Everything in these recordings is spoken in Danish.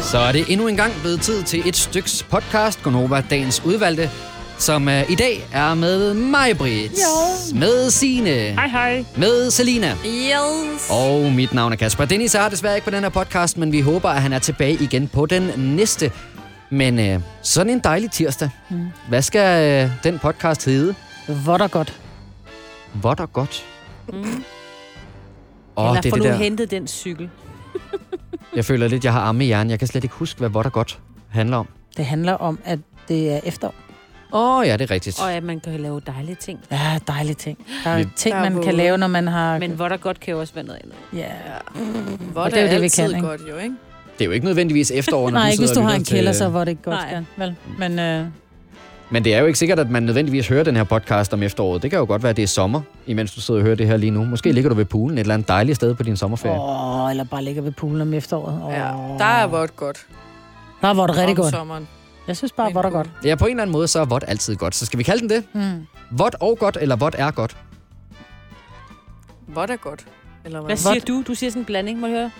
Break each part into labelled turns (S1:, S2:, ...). S1: Så er det endnu en gang blevet tid til et styks podcast, Gonova Dagens Udvalgte, som uh, i dag er med mig, Britt. Med Sine.
S2: Hej, hej.
S1: Med Selina.
S3: Yes.
S1: Og mit navn er Kasper. Dennis er her desværre ikke på den her podcast, men vi håber, at han er tilbage igen på den næste. Men øh, sådan en dejlig tirsdag. Mm. Hvad skal øh, den podcast hedde?
S2: Hvor der godt.
S1: Hvor der godt.
S3: Mm.
S1: Åh,
S3: Eller
S1: det er
S3: få
S1: det
S3: nu
S1: der.
S3: hentet den cykel.
S1: Jeg føler lidt, jeg har arme i hjernen. Jeg kan slet ikke huske, hvad hvor der godt handler om.
S2: Det handler om, at det er efterår.
S1: Åh, ja, det er rigtigt.
S3: Og at man kan lave dejlige ting.
S2: Ja, dejlige ting. Der er
S1: Vi-
S2: ting,
S4: Der er
S2: man kan
S4: våde.
S2: lave, når man har...
S3: Men hvor der godt kan jo også være noget andet.
S2: Ja.
S4: Hvor
S2: Og det er jo det, vi
S4: altid
S2: kan, ikke?
S4: godt jo, ikke?
S1: Det er jo ikke nødvendigvis efterår, når
S2: Nej, ikke hvis
S1: sidder
S2: du
S1: og
S2: har en
S1: lytter
S2: kælder,
S1: til-
S2: så hvor det ikke godt
S3: Nej.
S2: skal. Vel? Men øh,
S1: Men det er jo ikke sikkert, at man nødvendigvis hører den her podcast om efteråret. Det kan jo godt være, at det er sommer, imens du sidder og hører det her lige nu. Måske ligger du ved poolen et eller andet dejligt sted på din sommerferie.
S2: åh, eller bare ligger ved poolen om efteråret. Åh.
S4: Ja. Der er vort godt.
S2: Der er hvor det rigtig
S4: om
S2: godt.
S4: sommeren.
S2: Jeg synes bare,
S4: Men
S2: hvor der
S4: cool.
S2: godt.
S1: Ja, på en eller anden måde, så er vådt altid godt. Så skal vi kalde den det?
S2: Mm.
S1: Vådt og godt, eller vådt er godt?
S4: Hvor der godt. Eller
S3: Hvad
S4: hvad?
S3: siger du? Du siger sådan en blanding, må jeg høre.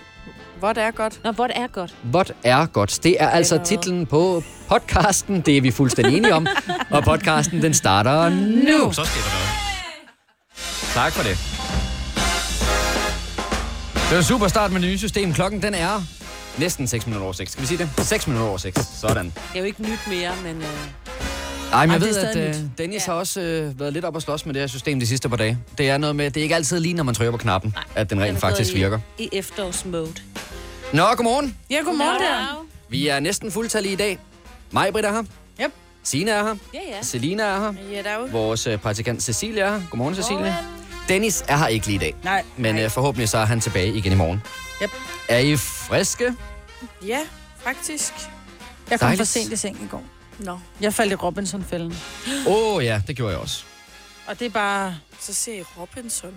S4: Hvor der er godt.
S3: Nå, hvor det er godt.
S1: Vådt er godt. Det er altså
S4: Eller hvad?
S1: titlen på podcasten. Det er vi fuldstændig enige om. Og podcasten, den starter nu.
S5: Så sker der noget.
S1: Tak for det. Det var super start med det nye system. Klokken, den er næsten 6 minutter over 6. Skal vi sige det? 6 minutter over 6. Sådan.
S3: Det er jo ikke nyt mere, men øh,
S1: Ej, men jeg
S2: Ej,
S1: ved,
S2: det er
S1: at
S2: stadig
S1: øh, Dennis har også øh, været lidt op og slås med det her system de sidste par dage. Det er noget med, det er ikke altid lige, når man trykker på knappen, Nej, at den
S3: den
S1: rent
S3: er
S1: faktisk
S3: gået
S1: virker.
S3: i, i efterårsmode.
S1: Nå, godmorgen.
S4: Ja, godmorgen der.
S1: Vi er næsten fuldtallige i dag. Maj Britt er her.
S4: Yep.
S1: Sina er her.
S3: Ja, ja.
S1: Selina er her.
S4: Ja, der er jo.
S1: Vores øh, praktikant Cecilia er her. Godmorgen, Cecilie. Dennis er her ikke lige i dag.
S2: Nej.
S1: Men øh, forhåbentlig så er han tilbage igen i morgen.
S2: Yep.
S1: Er I friske?
S4: Ja, faktisk.
S2: Jeg kom for
S1: Dejligt.
S2: sent i seng i går.
S4: Nå,
S2: Jeg faldt i Robinson-fælden.
S1: Åh oh, ja, det gjorde jeg også.
S2: Og det er bare...
S4: så ser I Robinson.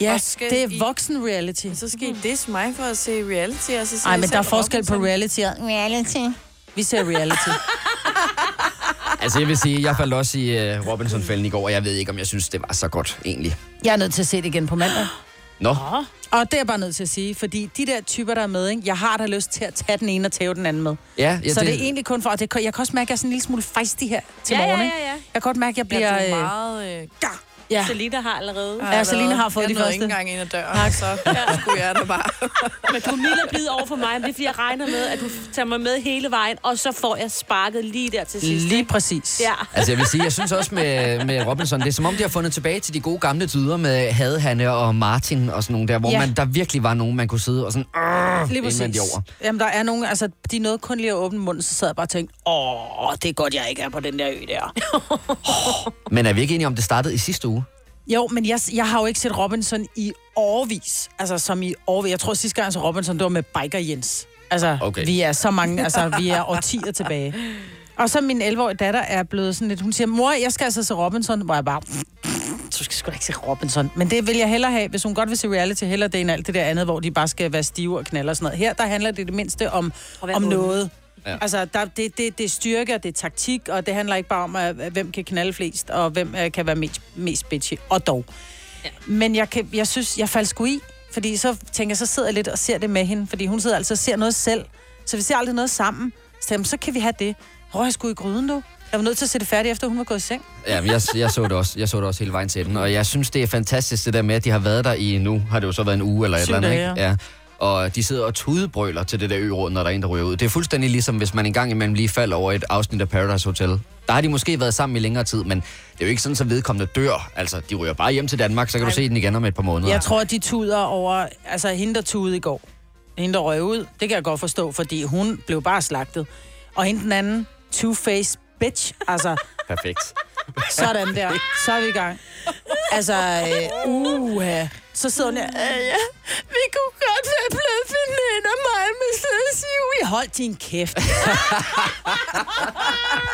S2: Ja,
S4: Og skal
S2: det
S4: I-
S2: er voksen-reality.
S4: Så skal I diss mig for at se reality, og så ser
S2: Nej,
S4: I
S2: Mhm. men
S4: selv
S2: der er forskel på
S4: Robinson.
S2: reality og... Reality. Vi ser reality.
S1: Altså jeg vil sige, jeg faldt også i øh, Robinson-fælden i går, og jeg ved ikke, om jeg synes, det var så godt egentlig.
S2: Jeg er nødt til at se det igen på mandag.
S1: Nå,
S2: Og det er jeg bare nødt til at sige, fordi de der typer, der er med, ikke? jeg har da lyst til at tage den ene og tæve den anden med.
S1: ja, ja
S2: Ja, så det... er egentlig kun for, og det, kan- jeg kan også mærke, at jeg er sådan en lille smule fejstig her til
S3: Ja, ja,
S2: morgen.
S3: ja,
S2: ikke?
S3: ja.
S2: Jeg kan godt mærke, at jeg
S4: Ja,
S2: bliver...
S4: det er
S2: øh,
S4: meget... Øh, gar.
S2: ja.
S3: Selina har allerede.
S2: Ja, Selina har fået
S4: jeg
S2: de
S4: nåede
S2: første.
S4: ikke engang ind ad døren, så skulle jeg da bare.
S3: Men du er mild og blid over for mig, men det er fordi, jeg regner med, at du tager mig med hele vejen, og så får jeg sparket lige der til sidst.
S2: Lige præcis.
S3: Ja.
S1: Altså jeg vil sige, jeg synes også med, med Robinson, det er som om, de har fundet tilbage til de gode gamle tider med Hadehanne og Martin og sådan nogle der, hvor ja.
S2: Ja.
S1: man, der virkelig var nogen, man kunne sidde og sådan, "Arrr",
S2: Lige præcis.
S1: indvendigt over.
S2: Jamen, der er nogen, altså, de nåede kun lige at åbne munden, så sad jeg bare og tænkte, åh, det er godt, jeg ikke er på den der ø der.
S1: Men er vi ikke enige om, det startede i sidste uge?
S2: jo, men jeg, jeg har jo ikke set Robinson i årvis. Altså, som i årvis. Jeg tror, sidste gang så Robinson, det var med Biker Jens. Altså,
S1: Okay.
S2: okay. vi er så mange, altså, vi er årtier tilbage. Og så min 11-årige datter er blevet sådan lidt, hun siger, mor, jeg skal altså se Robinson, hvor jeg bare, du skal sgu da ikke se Robinson. Men det vil jeg hellere have, hvis hun godt vil se reality, hellere det end alt det der andet, hvor de bare skal være stive og knaller og sådan noget. Her, der handler det i det mindste om,
S3: At være
S2: om
S3: moden.
S2: noget. Ja. Altså, der, det, det, det er styrke, og det er taktik, og det handler ikke bare om, at, at hvem kan knalde flest, og hvem øh, kan være mest, mest bitchy, og dog. Ja. Men jeg, kan, jeg synes, jeg faldt sgu i, fordi så tænker jeg, så sidder jeg lidt og ser det med hende, fordi hun sidder altså og ser noget selv, så vi ser aldrig noget sammen. Så, tænker jeg, "Men så kan vi have det. Hvor jeg skulle i gryden, du? Jeg var nødt til at se det færdigt, efter hun var gået i seng.
S1: Ja, men jeg, jeg, så det også, jeg så det også hele vejen til den, og jeg synes, det er fantastisk det der med, at de har været der i, nu har det jo så været en uge eller et
S2: Syv
S1: eller andet,
S2: dage,
S1: ikke? Ja. Og de sidder og tudebrøler til det der ø-råd, når der er en, der ryger ud. Det er fuldstændig ligesom, hvis man en gang imellem lige falder over et afsnit af Paradise Hotel. Der har de måske været sammen i længere tid, men det er jo ikke sådan, så vedkommende dør. Altså, de ryger bare hjem til Danmark, så kan du se den igen om et par måneder.
S2: Jeg tror, de tuder over... Altså, hende, der tudede i går. Hende, der røg ud. Det kan jeg godt forstå, fordi hun blev bare slagtet. Og hende den anden, two-face bitch. Altså,
S1: Perfekt.
S2: sådan der. Så er vi i gang. Altså, øh, uha. Så sidder hun der. Øh, ja. Vi kunne godt være blevet veninder, mig med Slæs Julie. "Øh, Hold din kæft.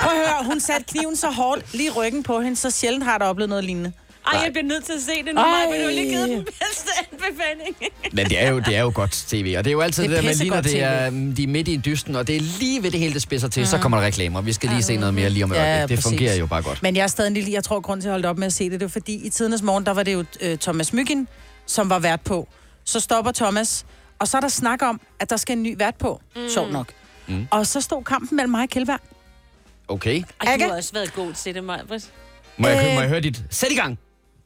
S2: Prøv at høre, hun satte kniven så hårdt lige i ryggen på hende, så sjældent har jeg da oplevet noget lignende.
S3: Ej, jeg bliver nødt til at se det nu,
S2: Ej.
S3: Maja, men du har lige givet den bedste anbefaling.
S1: Men det er, jo, det er jo godt tv, og det er jo altid det,
S2: Det er
S1: det der med, lige når
S2: pissegodt
S1: det er, mm, de er midt i dysten, og det er lige ved det hele, det spidser til, mm. så kommer der reklamer. Vi skal lige se noget mere lige om et
S2: Mhm. Ja,
S1: øjeblik. Det
S2: præcis.
S1: fungerer jo bare godt.
S2: Men jeg er stadig en lille, jeg tror, grund til at holde op med at se det, det var fordi i tidernes morgen, der var det jo øh, Thomas Myggen, som var vært på. Så stopper Thomas, og så er der snak om, at der skal en ny vært på. Mm. Sjovt nok. Mm. Og så stod kampen mellem mig og Kjellberg.
S1: Okay.
S3: Ej, du
S2: Akka?
S3: har også været god til det, Maja.
S1: Må jeg,
S2: Øh.
S1: må jeg høre dit... Sæt i gang!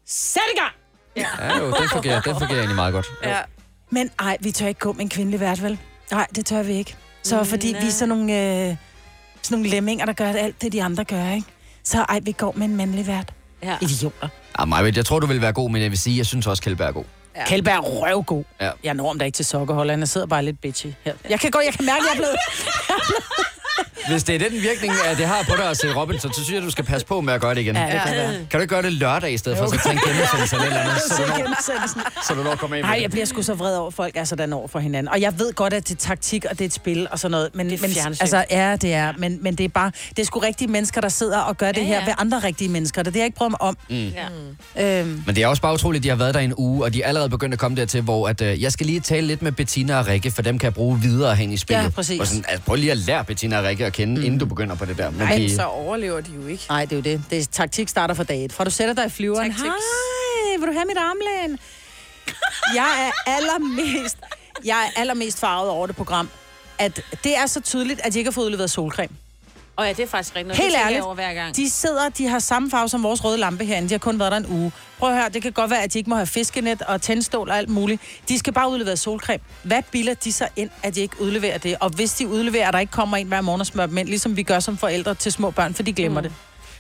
S2: Sæt i gang!
S1: Ja, jo, den fungerer, den fungerer egentlig meget godt.
S4: Ja.
S2: Men ej, vi tør ikke gå med en kvindelig vært, vel? Nej, det tør vi ikke. Så fordi
S3: Nej.
S2: vi er sådan nogle, øh, sådan nogle lemminger, der gør alt det, de andre gør, ikke? Så ej, vi går med en mandlig vært.
S3: Ja.
S2: Idioter.
S1: Ja, Maja, Ah, jeg tror, du vil være god, men jeg vil sige, jeg synes også, Kjellberg er god.
S2: Ja. Kjellberg er røvgod.
S1: Ja.
S2: Jeg når om der ikke til sokkerholderen. Jeg sidder bare lidt bitchy her. Jeg kan godt, jeg kan mærke, at jeg er blevet...
S1: Hvis det er den virkning, at det har på dig at se Robinson, så synes jeg, du skal passe på med at gøre det igen.
S2: Ja, det kan være.
S1: Kan du ikke gøre det lørdag i stedet for, så tage en genudsendelse eller et eller andet, så du når- så du når at komme af med
S2: Nej, jeg
S1: det?
S2: bliver sgu så vred over, at folk er sådan over for hinanden. Og jeg ved godt, at det er taktik, og det er et spil og sådan noget. Men,
S3: Det er
S2: men,
S3: fjernsyn.
S2: altså, ja, det er. Men, men det er bare, det er sgu rigtige mennesker, der sidder og gør det
S3: Ja,
S2: her
S3: ja.
S2: ved andre rigtige mennesker. Det er det, jeg ikke bryder mig om.
S1: Mm.
S3: Ja.
S2: Øhm,
S1: Men det er også bare utroligt, at de har været der i en uge, og de er allerede begyndt at komme dertil, hvor at, øh, jeg skal lige tale lidt med Bettina og Rikke, for dem kan jeg bruge videre hen i spillet.
S2: Ja, præcis.
S1: Og sådan, altså, prøv lige at lære Bettina og Rikke at kende, mm. inden du begynder på det der. Men
S4: Men
S1: de,
S4: så overlever de jo ikke.
S2: nej, det er jo det. det er, taktik starter fra dag et. Fra du sætter dig i flyveren.
S4: Taktik.
S2: Hej, vil du have mit armlæn? jeg er allermest, jeg er allermest farvet over det program. At det er så tydeligt, at de ikke har fået udleveret solcreme.
S3: Og ja, det er faktisk rigtigt. nok.
S2: Helt
S3: Det tænker jeg
S2: ærligt,
S3: Over hver gang.
S2: de sidder, de har samme farve som vores røde lampe herinde. De har kun været der en uge. Prøv at høre, det kan godt være, at de ikke må have fiskenet og tændstål og alt muligt. De skal bare udlevere solcreme. Hvad bilder de så ind, at de ikke udleverer det? Og hvis de udleverer, at der ikke kommer en hver morgen og smører dem ind, ligesom vi gør som forældre til små børn, for de glemmer mm. det.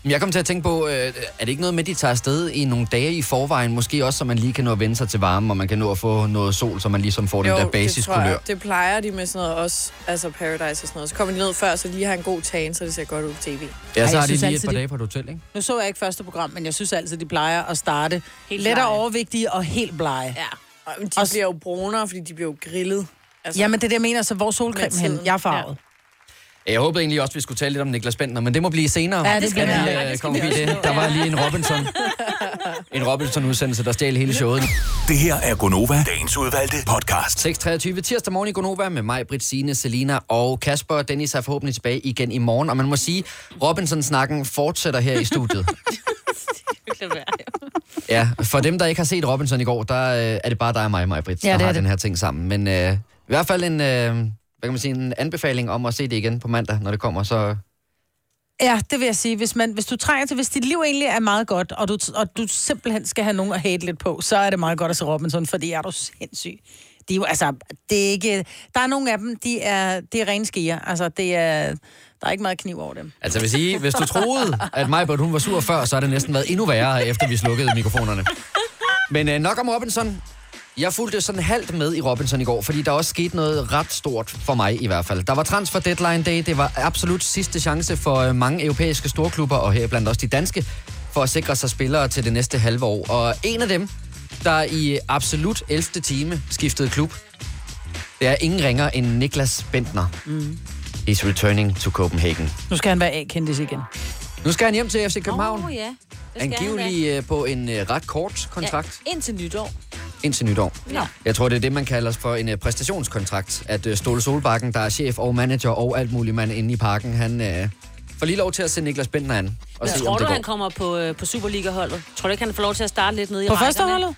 S1: Men jeg kom til at tænke på, øh, er det ikke noget med, at de tager afsted i nogle dage i forvejen, måske også, så man lige kan nå at vende sig til varme, og man kan nå at få noget sol, så man ligesom får den der basiskulør.
S4: Det plejer de med sådan noget også, altså Paradise og sådan noget. Så kommer de ned før, så lige har en god tan, så det ser godt ud på tv.
S1: Ja,
S2: Ej,
S1: så
S2: jeg
S1: har de
S2: synes
S1: lige et
S2: altid,
S1: par
S2: de-
S1: dage på et hotel, ikke?
S2: Nu så jeg ikke første program, men jeg synes altid, de plejer at starte
S3: Helt
S2: let og
S3: blege.
S2: overvægtige og helt blege. Ja.
S3: Ja.
S4: Ej, men de
S2: Også-
S4: bliver jo brunere, fordi de bliver jo grillet. Altså,
S2: Jamen, det er det, jeg mener, så hvor
S4: Med
S2: solcreme
S4: tiden.
S2: hen? Jeg er farvet.
S1: Jeg håbede egentlig også, at vi skulle tale lidt om Niklas Bentner, men det må blive senere.
S2: Ja, det skal
S1: at
S2: være.
S1: vi,
S3: Ja,
S1: øh,
S3: det skal
S1: kommer
S3: vi
S1: forbi
S3: også
S1: det.
S3: nå,
S1: Der var
S3: ja.
S1: lige en Robinson. En Robinson-udsendelse, der stjal hele showet.
S5: Det her er Gonova, dagens udvalgte podcast.
S1: 6.23 tirsdag morgen i Gonova med mig, Britt, Signe, Selina og Kasper. Dennis er forhåbentlig tilbage igen i morgen, og man må sige, Robinson-snakken fortsætter her i studiet.
S3: Det er
S1: Ja, for dem, der ikke har set Robinson i går, der øh, er det bare dig og mig, mig Britt,
S2: Ja,
S1: ja, der
S2: det er
S1: har
S2: det.
S1: den her ting sammen. Men øh, i hvert fald en, øh, hvad kan man sige, en anbefaling om at se det igen på mandag, når det kommer. Så
S2: Ja, det vil jeg sige. Hvis, man, hvis du trænger til, hvis dit liv egentlig er meget godt, og du, og du simpelthen skal have nogen at hate lidt på, så er det meget godt at se Robinson, for det er du sindssyg. De er jo, altså, det er ikke, der er nogle af dem, de er, det er rene skier. Altså, det er, der er ikke meget kniv over dem.
S1: altså, jeg vil sige, hvis du troede, at mig Britt, hun var sur før, så har det næsten været endnu værre, efter vi slukkede mikrofonerne. Men øh, nok om Robinson. Jeg fulgte sådan halvt med i Robinson i går, fordi der også skete noget ret stort for mig i hvert fald. Der var transfer deadline day, det var absolut sidste chance for øh, mange europæiske storklubber, og heriblandt også de danske, for at sikre sig spillere til det næste halve år. Og en af dem, der i absolut 11. time skiftede klub, det er ingen ringer end Niklas Bentner. Mm. He's returning to Copenhagen.
S2: Nu skal han være A-kendis igen.
S1: Nu skal han hjem til FC København.
S3: Åh, oh, ja. Det skal han
S1: Angivelig øh, på en øh, ret kort
S3: da.
S1: kontrakt.
S3: Ja, indtil nytår.
S1: indtil nytår.
S3: Nå.
S1: Jeg tror, det er det, man kalder for en øh, præstationskontrakt. At øh, Ståle Solbakken, der er chef og manager og alt muligt mand inde i parken, han øh, får lige lov til at se Niklas Bentner an og
S3: Jeg
S1: se,
S3: tror
S1: om
S3: du,
S1: det går.
S3: han kommer på, øh, på Superliga-holdet? Tror du ikke, han får lov til at starte lidt nede i
S2: På
S3: rækkerne?
S2: første holdet?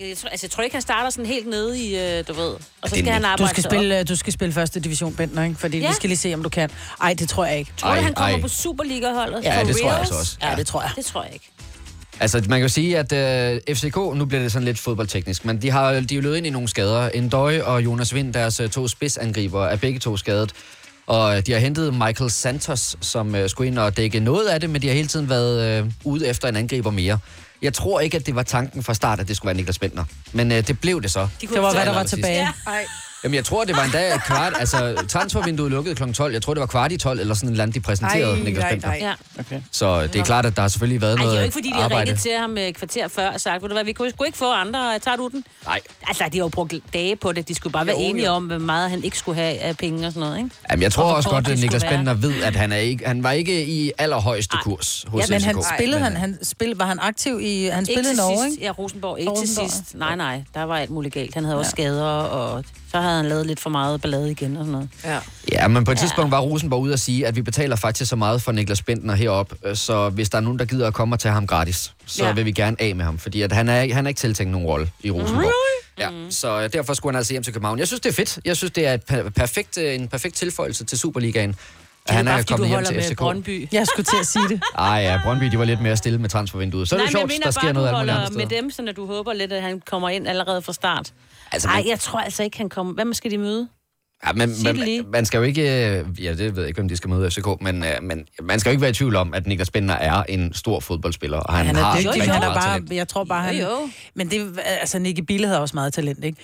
S3: Jeg tror, altså, jeg tror ikke, han starter sådan helt nede i, øh, du ved. Og så
S1: det
S3: skal han
S1: nemt?
S3: arbejde
S2: Du skal,
S3: sig op.
S2: spille, øh, du skal spille første division, Bentner, ikke? Fordi
S3: Ja.
S2: ja. vi skal lige se, om du kan. Ej, det tror jeg ikke.
S3: Tror du,
S1: Ej,
S3: han kommer
S1: ej.
S3: på Superliga-holdet?
S1: Ja,
S3: For
S1: det tror jeg
S3: reals?
S1: altså også.
S2: Ja, det tror jeg.
S3: Det tror jeg ikke.
S1: Altså, man kan jo sige, at øh, FCK, nu bliver det sådan lidt fodboldteknisk, men de har de er jo løbet ind i nogle skader. Endøj og Jonas Vind, deres øh, to spidsangriber, er begge to skadet. Og øh, de har hentet Michael Santos, som øh, skulle ind og dække noget af det, men de har hele tiden været øh, ude efter en angriber mere. Jeg tror ikke, at det var tanken fra start, at det skulle være Niklas Bentner. Men øh, det blev det så.
S3: De kunne
S2: Det var, hvad
S3: fortælle
S2: der var
S3: ham.
S2: tilbage.
S3: Ja.
S4: Ej,
S1: Jamen, jeg tror, det var en dag kvart... Altså, transfervinduet lukkede kl. 12. Jeg tror, det var kvart i 12, eller sådan en eller andet, de præsenterede
S4: Ej,
S1: Niklas
S4: nej,
S1: Bentner.
S4: nej.
S3: Ja.
S1: Så det er klart, at der har selvfølgelig været
S3: Ej, det
S1: noget
S3: er jo ikke, fordi de har
S1: Øh, arbejde.
S3: ringet til ham et kvarter før og sagt, ved du hvad, vi kunne sgu ikke få andre, øh, tager du den?
S1: Nej,
S3: Altså, de har jo brugt dage på det. De skulle bare være
S4: Jo, jo.
S3: enige om, hvor meget han ikke skulle have af penge og sådan noget, ikke?
S1: Jamen, jeg tror
S3: Og hvor
S1: også
S3: kort
S1: godt,
S3: det
S1: at Niklas
S3: skulle
S1: Bender ved, at han, er ikke, han var ikke i allerhøjeste kurs hos
S2: Ja, men
S1: FCK.
S2: han spillede,
S1: Men,
S2: han, han spillede, var han aktiv i, han spillede
S3: til
S2: i Norge,
S3: sidst.
S2: ikke?
S3: Ja, Rosenborg. Ikke
S2: Rosenborg.
S3: til sidst. Nej, nej. Der var alt muligt galt. Han havde også skader, og så havde han lavet lidt for meget ballade igen og sådan noget.
S4: Ja.
S1: Ja, men på et tidspunkt var Rosenborg ude at sige, at vi betaler faktisk så meget for Niklas Bentner herop, øh, så hvis der er nogen, der gider at komme og tage ham gratis, så
S3: Ja.
S1: ja. vil vi gerne af med ham, fordi at han, er, han er ikke tiltænkt nogen rolle i Rosenborg. Really? Ja, mm. så øh, derfor skulle han altså hjem til København. Jeg synes, det er fedt. Jeg synes, det er et per- perfekt, øh, en perfekt tilføjelse til Superligaen. at
S3: det er bare,
S1: er
S3: fordi du
S1: kommet hjem
S3: holder
S1: til
S3: med
S1: FCK.
S3: Brøndby.
S2: Jeg skulle til at sige det.
S1: Ej, ja, Brøndby, de var lidt mere stille med transfervinduet. Så er det
S3: Nej,
S1: jo
S3: men jeg
S1: sjovt, der
S3: mener
S1: sker
S3: bare,
S1: noget
S3: du
S1: af muligt
S3: holder
S1: andet
S3: med
S1: sted.
S3: dem, så du håber lidt, at han kommer ind allerede fra start.
S1: Altså,
S3: Nej,
S1: man,
S3: jeg tror altså ikke, han kommer. Hvem skal de møde?
S1: ja, men,
S3: sig det lige.
S1: man, man skal jo ikke... øh, Ja, det ved jeg ikke, hvem de skal møde FCK, men, øh, men man skal jo ikke være i tvivl om, at Niklas Bender er en stor fodboldspiller, og han,
S2: Han
S1: har
S2: er
S1: rigtig
S2: dygtig, han er
S1: meget
S2: bare,
S1: talent.
S2: jeg tror bare, han...
S3: Jo, jo.
S2: Men det, altså, Nicky Bille havde også meget talent, ikke?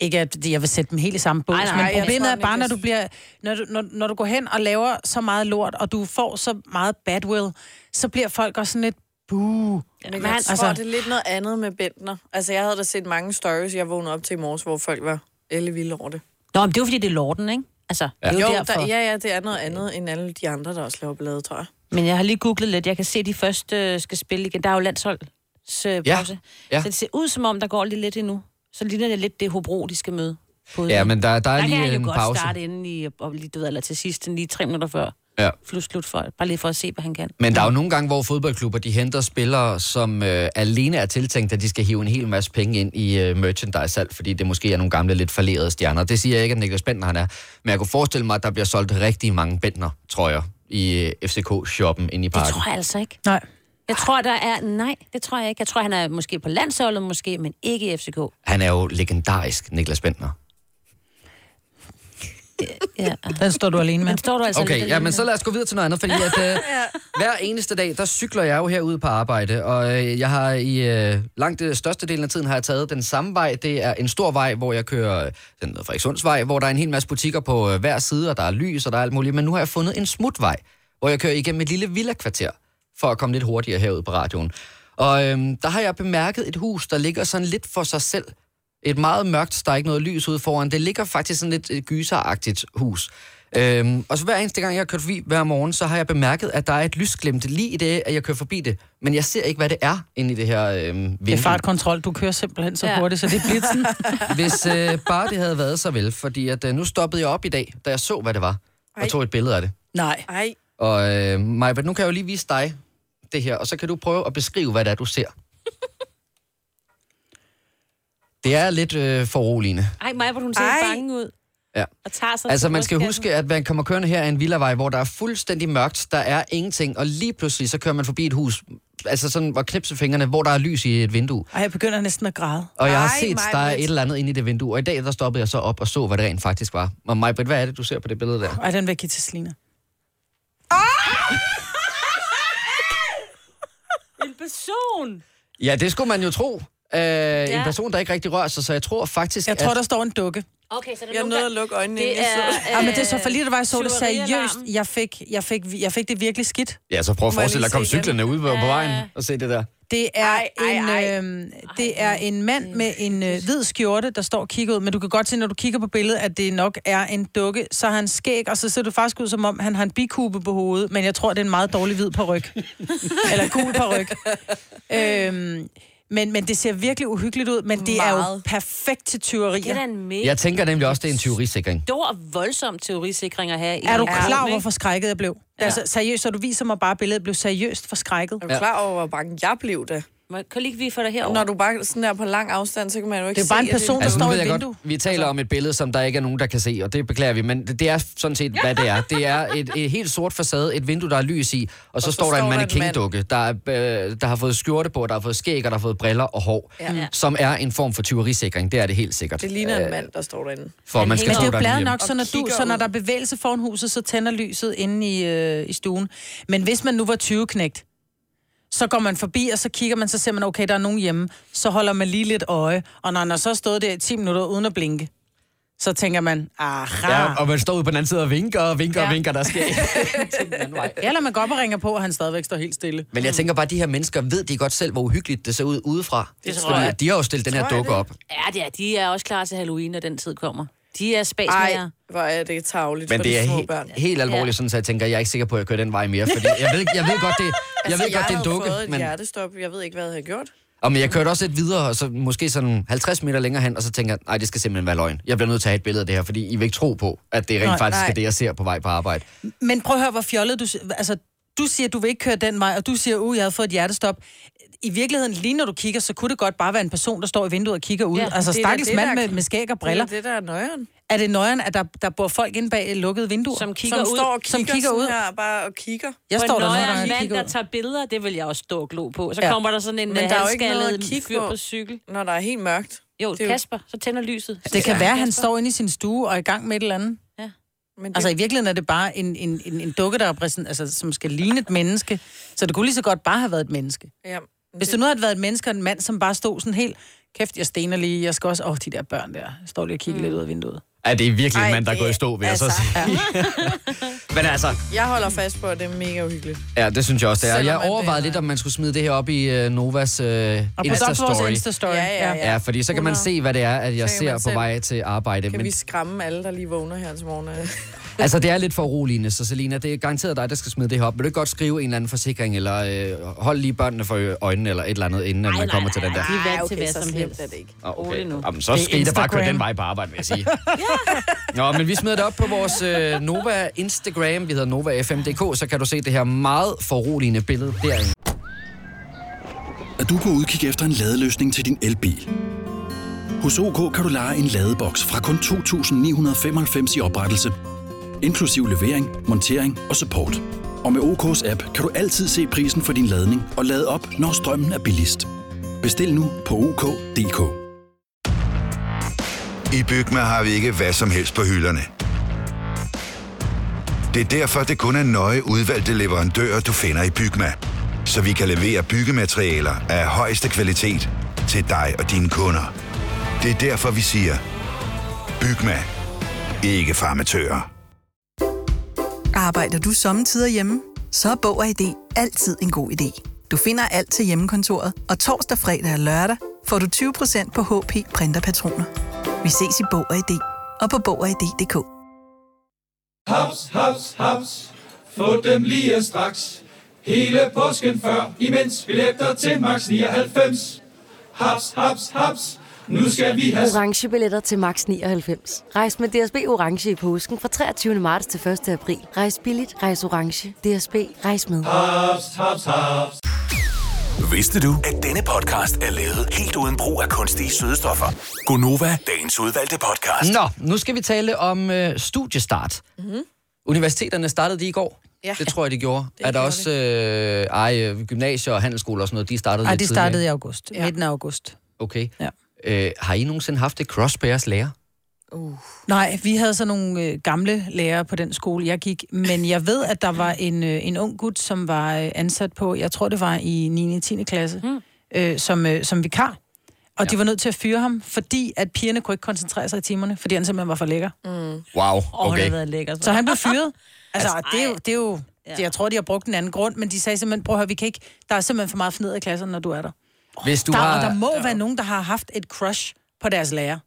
S2: Ikke at jeg vil sætte dem helt i samme bås,
S3: Ej, nej, jeg
S2: men problemet er
S4: tror,
S2: bare,
S4: Nick-
S2: når du, bliver, når, du, når, når du går hen og laver så meget lort, og du får så meget badwill, så bliver folk også sådan lidt, buh.
S4: Men
S3: Men
S4: jeg
S3: han-
S4: tror,
S2: altså-
S4: altså... det er lidt noget andet med Bentner. Altså, jeg havde da set mange stories, jeg vågnede op til i morges, hvor folk var alle vilde over det.
S3: Nå, men det er jo, fordi det er lorten, ikke? Altså, ja. det er jo,
S4: Jo,
S3: jo derfor.
S4: der,
S3: Der, ja.
S4: ja, ja, det er noget andet end alle de andre, der også laver ballade, tror jeg.
S3: Men jeg har lige googlet lidt. Jeg kan se, at de først øh, skal spille igen. Der er jo landshold. Øh,
S1: Ja,
S3: pause.
S1: ja.
S3: Så det ser ud som om, der går lige lidt endnu. Så ligner det lidt det Hobro, de skal møde. På
S1: Ja, men der, der er
S3: der kan
S1: lige
S3: han
S1: en
S3: jo godt
S1: pause.
S3: starte inden i, og lige, du ved, eller til sidst, lige tre minutter før.
S1: Ja.
S3: Slut, slut for, bare lige for at se, hvad han kan.
S1: Men der er jo nogle gange, hvor fodboldklubber de henter spillere, som øh, alene er tiltænkt, at de skal hive en hel masse penge ind i øh, merchandise-salg, fordi det måske er nogle gamle, lidt falderede stjerner. Det siger jeg ikke, at Niklas Bentner han er, men jeg kunne forestille mig, at der bliver solgt rigtig mange Bentner, tror jeg, i øh, FCK-shoppen inde i
S3: Det
S1: parken.
S3: tror jeg altså ikke.
S2: Nej.
S3: Jeg tror, der er... Nej, det tror jeg ikke. Jeg tror, han er måske på landsholdet, måske, men ikke i FCK.
S1: Han er jo legendarisk, Niklas Bentner.
S3: Ja.
S2: Den står du alene med.
S3: Men står du altså
S1: Okay,
S3: lidt
S1: ja,
S3: alene.
S1: men så lad os gå videre til noget andet, fordi at, øh, hver eneste dag, der cykler jeg jo herude på arbejde, og øh, jeg har i øh, langt det største del af tiden har jeg taget den samme vej. Det er en stor vej, hvor jeg kører øh, den hedder Frederikssundsvej, hvor der er en hel masse butikker på øh, hver side, og der er lys, og der er alt muligt. Men nu har jeg fundet en smutvej, hvor jeg kører igennem et lille villakvarter, for at komme lidt hurtigere herud på radioen. Og øh, der har jeg bemærket et hus, der ligger sådan lidt for sig selv. Et meget mørkt, der er ikke noget lys ude foran. Det ligger faktisk sådan lidt øh, gyseragtigt hus. Øhm, og så hver eneste gang, jeg har kørt forbi hver morgen, så har jeg bemærket, at der er et lysglimt lige i det, at jeg kører forbi det. Men jeg ser ikke, hvad det er inde i det her øhm, vindue.
S2: Det er fartkontrol, du kører simpelthen så
S3: Ja.
S2: hurtigt, så det er blitzen.
S1: Hvis øh, bare det havde været så vel, fordi at, øh, nu stoppede jeg op i dag, da jeg så, hvad det var, og
S4: Ej.
S1: tog et billede af det.
S2: Nej.
S4: Ej,
S1: Og øh, Maja, nu kan jeg jo lige vise dig det her, og så kan du prøve at beskrive, hvad det er, du ser. Det er lidt øh, foruroligende.
S3: Ej, mig, hvor hun ser
S4: Ej.
S3: bange ud.
S1: Ja.
S3: Og tager sig
S1: Altså,
S3: til
S1: man skal
S3: brystkassen.
S1: huske, at man kommer kørende her af en villavej, hvor der er fuldstændig mørkt, der er ingenting, og lige pludselig, så kører man forbi et hus, altså sådan, hvor knipse fingrene, hvor der er lys i et vindue.
S2: Og jeg begynder næsten at græde.
S1: Og jeg har
S4: Ej,
S1: set,
S4: Maj-Brit.
S1: der er et eller andet inde i det vindue, og i dag, der stoppede jeg så op og så, hvad det rent faktisk var. Og Maj, hvad er det, du ser på det billede der?
S2: Ej, den vil jeg give til Selina.
S3: En person!
S1: Ja, det skulle man jo tro. Øh, ja. En
S3: Ja.
S1: person, der ikke rigtig rører sig, så jeg tror faktisk,
S2: Jeg tror,
S1: at...
S2: der står en dukke.
S3: Okay, så det
S4: jeg nåede at lukke øjnene
S3: Det
S4: ind i
S3: er,
S4: så.
S2: Ja, men det er så
S4: øh,
S2: for lige, det var, jeg så det
S3: tyverialarm.
S2: seriøst. Jeg fik, jeg, fik, jeg fik det virkelig skidt.
S1: Ja, så prøv at
S4: Må jeg
S1: forestille dig
S4: lige
S1: at komme
S4: se igen?
S1: cyklerne ud på, på
S3: Ja.
S1: vejen og se det der.
S2: Det er,
S4: Ej, ej,
S2: en,
S4: ej. Mm.
S2: øhm, det er en mand med en øh, hvid skjorte, der står og kigger ud. Men du kan godt se, når du kigger på billedet, at det nok er en dukke. Så har han skæg, og så ser det faktisk ud, som om han har en bikube på hovedet. Men jeg tror, det er en meget dårlig hvid peruk. Eller gul peruk. øhm, men, men det ser virkelig uhyggeligt ud, men det er jo
S4: Meget.
S2: perfekt til
S3: Det er da
S2: tyverier.
S3: en mega
S1: Jeg tænker nemlig også, det er en tyverisikring.
S3: stor, voldsom teorisikring at have. i
S2: Er du
S3: en arm,
S2: klar over,
S3: ikke?
S2: hvor forskrækket jeg blev? Altså, seriøst, så du viser mig bare billedet, jeg blev seriøst forskrækket.
S4: Er du klar over, hvor bange jeg blev da?
S3: Må- Kan lige vi få dig herover?
S4: Når du bare sådan der på lang afstand, så kan man jo ikke
S2: Det er bare
S4: se,
S2: en
S4: at
S2: person, der
S1: Altså, nu
S2: står
S1: ved
S2: i
S1: jeg godt,
S2: vindue.
S1: vi taler om et billede, som der ikke er nogen, der kan se, og det beklager vi, men det, det er sådan set, hvad det er. Det er et, et helt sort facade, et vindue, der er lys i, og så, og så står der en
S4: mand.
S1: mannequin-dukke, der, er, øh, der har fået skjorte på, der har fået skæg, og der har fået briller og hår, ja. som er en form for tyverisikring. Det er det helt sikkert. Øh,
S4: Det ligner en mand, der står derinde.
S1: For man skal
S3: Men
S2: Men
S1: stå
S2: det er
S1: der
S2: jo bladret
S1: lige
S2: nok, så
S4: Og
S2: når, du,
S4: kigger
S2: så når
S4: ud.
S2: der er bevægelse foran huset, så tænder lyset inde i, øh, i stuen. Men hvis man nu var 20-knægt, så går man forbi, og så kigger man, så ser man, okay, der er nogen hjemme. Så holder man lige lidt øje. Og når han har så stået der i 10 minutter uden at blinke, så tænker man, aha.
S1: Ja,
S2: Ja,
S1: og man står ude på den anden side og vinker og vinker ja. og vinker, der sker
S2: Eller man går op og ringer på, og han stadigvæk står helt stille.
S1: Men jeg tænker bare, at de her mennesker ved de godt selv, hvor uhyggeligt det ser ud udefra. Det
S3: tror
S1: Fordi
S3: jeg.
S1: at de har jo stillet den her
S4: Tror jeg
S1: dukke
S4: det?
S1: op.
S3: Ja, det er, de er også klar til Halloween, når den tid kommer. De er
S4: Ej,
S3: spasmager.
S4: hvor er det tavligt
S1: Men
S4: for
S1: det
S4: de
S1: er
S4: små
S1: helt,
S4: børn.
S1: helt alvorligt,
S3: Ja.
S1: sådan, så jeg tænker, jeg er ikke sikker på, at jeg kører den vej mere. Fordi jeg, ved, jeg ved godt, det, jeg
S4: Altså,
S1: ved godt, det er en dukke,
S4: Jeg har jo fået et
S1: men,
S4: hjertestop. Jeg ved ikke, hvad jeg havde gjort.
S1: og, men jeg kørte også lidt videre, og så måske sådan 50 meter længere hen, og så tænker jeg, nej, det skal simpelthen være løgn. Jeg bliver nødt til at have et billede af det her, fordi I vil ikke tro på, at det rent
S2: Nej,
S1: faktisk
S4: nej.
S1: er det, jeg ser på vej på arbejde.
S2: Men prøv at høre, hvor fjollet du... Altså, du siger, du vil ikke køre den vej, og du siger, uh, jeg havde fået et hjertestop. i virkeligheden, lige når du kigger, så kunne det godt bare være en person, der står i vinduet og kigger ud. Ja,
S3: Ja,
S2: altså
S4: det er da
S2: stakkels
S4: det,
S2: mand
S4: der-
S2: med, med skæg og briller.
S4: Eller det, der er nøjeren.
S2: Er det nøjeren, at der, der bor folk inde bag lukkede vinduer?
S3: Som kigger
S4: Som
S3: ud.
S4: står og kigger,
S2: Som kigger
S4: sådan
S2: ud.
S4: her, bare og kigger.
S2: jeg
S3: på
S2: står der
S3: en
S2: nogle
S3: nøjeren
S2: gange og
S3: mand,
S2: kigger
S3: der
S2: ud.
S3: tager billeder, det vil jeg også stå og glo på. Så
S2: Ja.
S3: ja. kommer der sådan en
S4: Men
S3: øh,
S4: der er jo ikke noget at
S3: halvskaldet
S4: kigge
S3: fyr
S4: på.
S3: på cykel.
S4: Når der er helt mørkt.
S3: Jo,
S4: Det er jo-
S3: Kasper, så tænder lyset.
S2: Det kan
S3: Ja.
S2: være, at han står inde i sin stue og er i gang med et eller andet.
S4: Men det,
S2: Altså
S4: altså,
S2: i virkeligheden er det bare en, en, en, en dukke, der er præsent, altså, som skal ligne et menneske. Så det kunne lige så godt bare have været et menneske.
S4: ja,
S2: Hvis du nu havde været et menneske og en mand, som bare stod sådan helt, kæft, jeg stener lige, jeg skal også, åh, oh, de der børn der, jeg står lige og kigger mm. lidt ud af vinduet.
S1: Ja, det er virkelig en
S4: Ej,
S1: mand, der
S4: det-
S1: går i stå, vil jeg så
S4: altså,
S1: sige. Men altså,
S4: jeg holder fast på, at det er mega uhyggeligt.
S1: ja, det synes jeg også, det er.
S4: Selvom
S1: Jeg
S4: at det
S1: overvejede
S4: er-
S1: lidt, om man skulle smide det her op i øh, Novas øh,
S2: Og på op på vores
S1: Insta-story.
S2: Insta-story.
S4: Ja, ja, ja.
S1: Ja, fordi så kan man se, hvad det er, at jeg
S4: Så kan
S1: ser
S4: man
S1: på
S4: selv-
S1: vej til arbejde.
S4: Kan
S1: Men
S4: vi skræmme alle, der lige vågner her til morgen?
S1: Altså, det er lidt for uroligende, så Selina, det er garanteret dig, der skal smide det her op. Vil du ikke godt skrive en eller anden forsikring, eller øh, hold lige børnene for øjnene, eller et eller andet, inden at man kommer til den der?
S3: Vi er vant til
S4: okay,
S3: hvad
S4: så
S3: som
S4: slemt
S3: helst.
S4: er det ikke.
S1: Ah,
S3: Rolig nu.
S1: Jamen, så
S2: Det er
S1: skal I da bare køre
S2: Instagram.
S1: den vej på arbejde, vil jeg sige. Nå, men vi smider det op på vores øh, Nova Instagram, vi hedder NovaFM.dk, så kan du se det her meget foruroligende billede derinde.
S5: at du kan udkigge efter en ladeløsning til din elbil. Hos OK kan du lege en ladeboks fra kun 2.995 i oprettelse, inklusiv levering, montering og support. Og med OK's app kan du altid se prisen for din ladning og lade op, når strømmen er billigst. Bestil nu på OK.dk.
S6: I Bygma har vi ikke hvad som helst på hylderne. Det er derfor, det kun er nøje udvalgte leverandører, du finder i Bygma. Så vi kan levere byggematerialer af højeste kvalitet til dig og dine kunder. Det er derfor, vi siger, Bygma. Ikke farmatører.
S7: Arbejder du sommetider hjemme? Så er Bog og ID altid en god idé. Du finder alt til hjemmekontoret, og torsdag, fredag og lørdag får du 20% på HP Printerpatroner. Vi ses i Bog og ID og på Bog og ID.dk.
S8: Haps, haps, haps. Få dem lige straks. Hele påsken før, imens billetter til max 99. Haps, haps, haps. Nu skal vi have
S9: Orange billetter til max 99. Rejs med DSB Orange i påsken fra 23. marts til 1. april. Rejs billigt, rejs orange. DSB, rejs med.
S8: Ah. haps, haps, haps.
S5: Vidste du, at denne podcast er lavet helt uden brug af kunstige sødestoffer? Gonova, dagens udvalgte podcast.
S1: Nå, nu skal vi tale om øh, studiestart. Mm-hmm. Universiteterne startede de i går.
S4: Ja.
S1: Det tror jeg, de gjorde. Det er der
S4: gjorde
S1: også øh, ej, øh, gymnasier og handelsskoler og sådan noget, de startede
S2: Ej,
S1: lidt
S2: de
S1: tidligere.
S2: startede i august. Ja. Midten af august.
S1: Okay.
S2: Ja.
S1: Øh, har I nogensinde haft et cross på jeres lærer?
S2: Nej, vi havde så nogle øh, gamle lærere på den skole, jeg gik. Men jeg ved, at der var en, øh, en ung gut, som var øh, ansat på, jeg tror det var i 9. og 10. klasse, mm. øh, som, øh, som vikar. Og ja. de var nødt til at fyre ham, fordi at pigerne kunne ikke koncentrere sig i timerne, fordi han simpelthen var for lækker. Mm.
S1: Wow,
S3: Åh, okay.
S1: okay.
S3: været lækker.
S2: Så han blev fyret. Altså,
S3: Altså,
S2: det er jo...
S3: ej.
S2: Det er jo
S3: Ja.
S2: det, jeg tror, de har brugt en anden grund, men de sagde simpelthen, prøv at høre, vi kan ikke, der er simpelthen for meget fnidder i klasserne, når du er der.
S1: Hvis du
S2: der,
S1: har...
S2: og der må være nogen, der har haft et crush på deres lærer.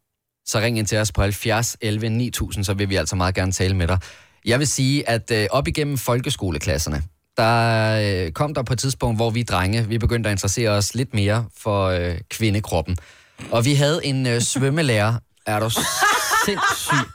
S1: så ring ind til os på 70 11 9000, så vil vi altså meget gerne tale med dig. Jeg vil sige, at øh, op igennem folkeskoleklasserne, der øh, kom der på et tidspunkt, hvor vi drenge, vi begyndte at interessere os lidt mere for øh, kvindekroppen. Og vi havde en øh, svømmelærer, er du sindssyg,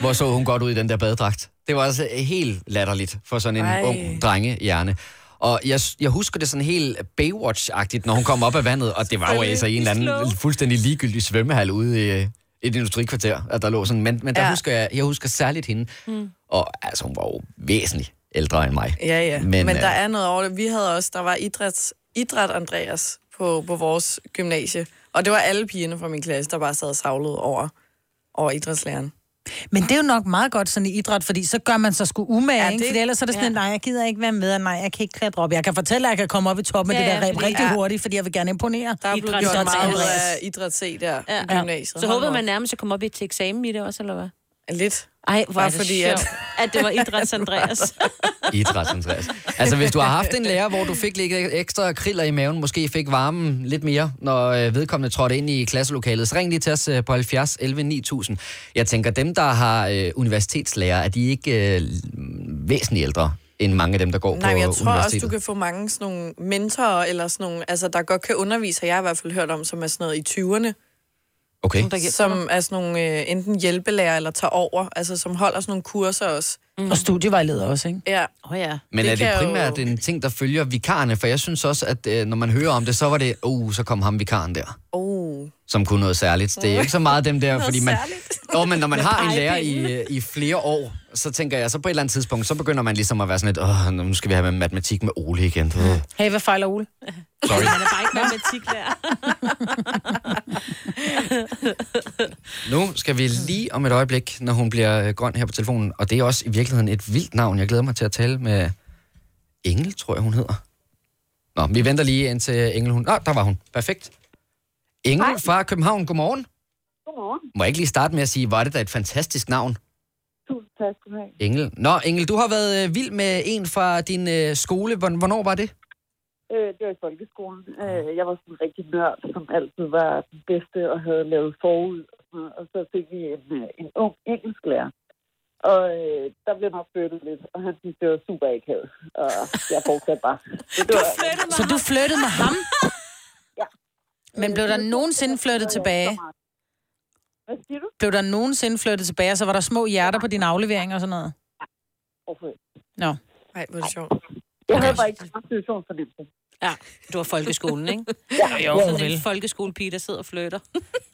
S1: hvor så hun godt ud i den der badedragt. Det var altså helt latterligt for sådan en Ej.
S4: Ej.
S1: ung drengehjerne. Og jeg, jeg husker det sådan helt Baywatch-agtigt, når hun kom op af vandet, og det var jo altså i en eller anden fuldstændig ligegyldig svømmehal ude i øh, et industrikvarter, at der lå sådan, men, men der ja.
S4: Ja.
S1: husker jeg, jeg husker særligt hende, mm. og altså hun var jo væsentligt ældre end mig.
S4: Ja, ja.
S1: Men,
S4: Men, Men der
S1: øh,
S4: er noget over det. Vi havde også, der var idræts, idræt Andreas på, på vores gymnasie. Og det var alle pigerne fra min klasse, der bare sad og savlede over, over idrætslæreren.
S2: Men det er jo nok meget godt sådan i idræt, fordi så gør man sig sgu umage, ja,
S4: Ja,
S2: det... ikke?
S4: det-
S2: Fordi ellers er det sådan, ja. nej, jeg gider ikke være med, og nej, jeg kan ikke klatre op. Jeg kan fortælle, at jeg kan komme op i toppen ja,
S3: Ja,
S2: af det
S3: ja,
S2: der ræb
S3: fordi-
S2: rigtig ja.
S4: ja.
S2: hurtigt, fordi jeg vil gerne imponere.
S4: Der blev
S3: Idræts-
S4: gjort meget ud
S2: Andreas.
S4: af idræt C der ja. i
S3: Ja.
S4: gymnasiet.
S3: Så
S4: Hold
S3: håbede
S4: nu
S3: man
S4: op.
S3: nærmest at komme op i til eksamen i det også, eller hvad?
S4: Lidt.
S3: Ej, hvor er
S4: Bare
S3: det
S4: fordi,
S3: fordi, sjovt, at... det var idræts Andreas.
S1: Idræt, Andreas. Altså, hvis du har haft en lærer, hvor du fik lidt ekstra kriller i maven, måske fik varmen lidt mere, når øh, vedkommende trådte ind i klasselokalet, så ring lige til os øh, på 70 11 9000. Jeg tænker, dem, der har øh, universitetslærer, er de ikke øh, væsentligt ældre end mange af dem, der går
S4: Nej,
S1: på
S4: men jeg tror også,
S1: universitetet?
S4: du kan få mange sådan nogle mentorer, eller sådan nogle, altså, der godt kan undervise, har jeg i hvert fald hørt om, som er sådan noget i 20'erne.
S1: Okay.
S4: der som er sådan nogle øh, enten hjælpelærer eller tager over, altså som holder sådan nogle kurser også.
S3: Mm.
S2: Og studievejleder også, ikke?
S4: Ja,
S2: Åh oh, ja.
S1: Men det er
S4: Det
S1: det
S4: kan jo-
S1: primært jo... en ting, der følger vikarerne? For jeg synes også, at øh, når man hører om det, så var det, uh, så kom ham vikaren der,
S4: oh.
S1: som kunne noget særligt. Det er ikke så meget dem der, fordi man... Jo, men når man har en lærer i, øh, i flere år, så tænker jeg, så på et eller andet tidspunkt, så begynder man ligesom at være sådan lidt, åh, nu skal vi have med matematik med Ole igen. Øh,
S2: Hey, hvad fejler Ole?
S1: Sorry.
S3: Han er bare ikke matematiklærer.
S1: Nu skal vi lige om et øjeblik, når hun bliver øh, grøn her på telefonen, og det er også i virkeligheden et vildt navn. Jeg glæder mig til at tale med Engel, tror jeg, hun hedder. Nå, vi venter lige indtil Engel, hun... Nå, der var hun. Perfekt. Engel fra København, godmorgen.
S10: Godmorgen.
S1: Må jeg ikke lige starte med at sige, hvor er det da et fantastisk navn,
S10: Tusind tak skal du have.
S1: Engel. Nå, Engel, du har været øh, vild med en fra din øh, skole. Hvorn- Hvornår var det?
S10: Øh, det var i folkeskolen. Øh, jeg var sådan en rigtig nørd, som altid var den bedste og havde lavet forud. Og, sådan noget. og så fik vi en, øh, en ung engelsklærer. Og øh, der blev nok flyttet lidt, og han syntes, det var super akavet. Og jeg fortsatte bare. Så det var,
S2: Så du flyttede med ham?
S10: Ja.
S2: Men blev der nogensinde flyttet tilbage?
S10: Hvad siger du?
S2: Blev der nogensinde flyttet tilbage, og så var der små hjerter på dine afleveringer og sådan noget?
S10: Hvorfor ikke?
S2: Nå.
S4: Ej, hvor er det sjovt.
S10: Jeg havde bare ikke en situation for det.
S3: Ja, du var folkeskolen, ikke?
S10: Ja,
S2: Jo,
S3: Sådan en
S2: vel.
S3: folkeskolepige, der sidder og flytter.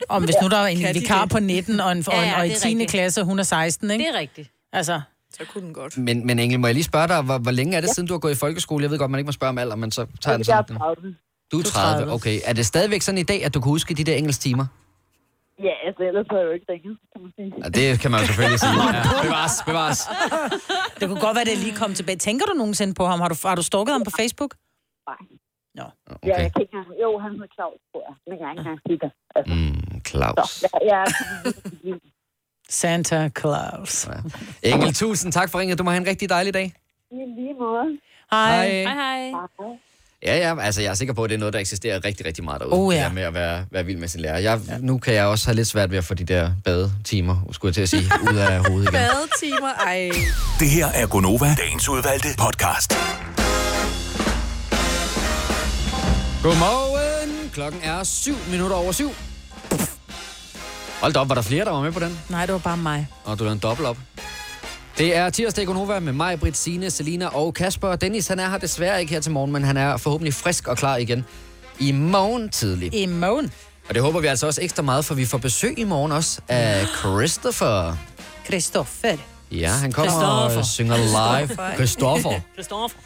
S2: Om hvis nu der er
S4: Kan
S2: en
S4: de
S2: vikar
S4: det?
S2: på 19 og, en, og, en,
S3: Ja, ja,
S2: og i
S3: det er
S2: 10.
S3: rigtigt.
S2: klasse, og hun er 16,
S3: Det
S2: ikke?
S3: er rigtigt.
S2: Altså,
S4: Så kunne den godt.
S1: Men, men Engel, må jeg lige spørge dig, hvor, hvor længe er det, ja. siden du har gået i folkeskole? Jeg ved godt, man ikke må spørge om alder, men så tager jeg den
S10: jeg
S1: sådan.
S10: er 30.
S1: Du er 30,
S2: 30.
S1: okay. Er det stadigvæk sådan i dag, at du kan huske de der engelstimer?
S10: Ja, altså ellers havde jeg jo ikke ringet, kan man sige.
S1: Ja, det kan man jo selvfølgelig sige. Ja, bevares, bevares.
S2: det kunne godt være, det lige kom tilbage. Tænker du nogensinde på ham? Har du, har du stalket ham på Facebook?
S10: Nej. Ja,
S1: Okay.
S10: jeg kan ikke engang... Jo, han hedder Claus, tror jeg. Men jeg er ikke engang sikker. Altså,
S1: Mm,
S10: så,
S1: Claus.
S10: jeg, jeg er
S2: Santa Claus.
S1: Engel, tusind tak for ringet. Du må have en rigtig dejlig dag.
S10: i lige måde.
S2: Hej.
S3: Hej, hej.
S1: Ja, ja, altså jeg er sikker på, at det er noget, der eksisterer rigtig, rigtig meget derude.
S2: Oh, ja.
S1: Det der med at være, være vild med sin lærer. Jeg, ja. Nu kan jeg også have lidt svært ved at få de der badetimer, skulle jeg til at sige, ud af hovedet igen.
S4: Badetimer, ej.
S5: Det her er Gonova, dagens udvalgte podcast.
S1: Godmorgen. Klokken er 7 minutter over syv. Hold da op, var der flere, der var med på den?
S2: Nej, det var bare mig.
S1: Og du lavede en dobbelt op. Det er tirsdag i Gonova med mig, Britt, Signe, Selina og Kasper. Dennis, han er her desværre ikke her til morgen, men han er forhåbentlig frisk og klar igen i morgen tidlig.
S2: I morgen,
S1: Og det håber vi altså også ekstra meget, for vi får besøg i morgen også af Christopher.
S2: Christoffer.
S1: Ja, han kommer og øh,
S3: Christoffer.
S1: synger live. Christopher.
S3: Christoffer.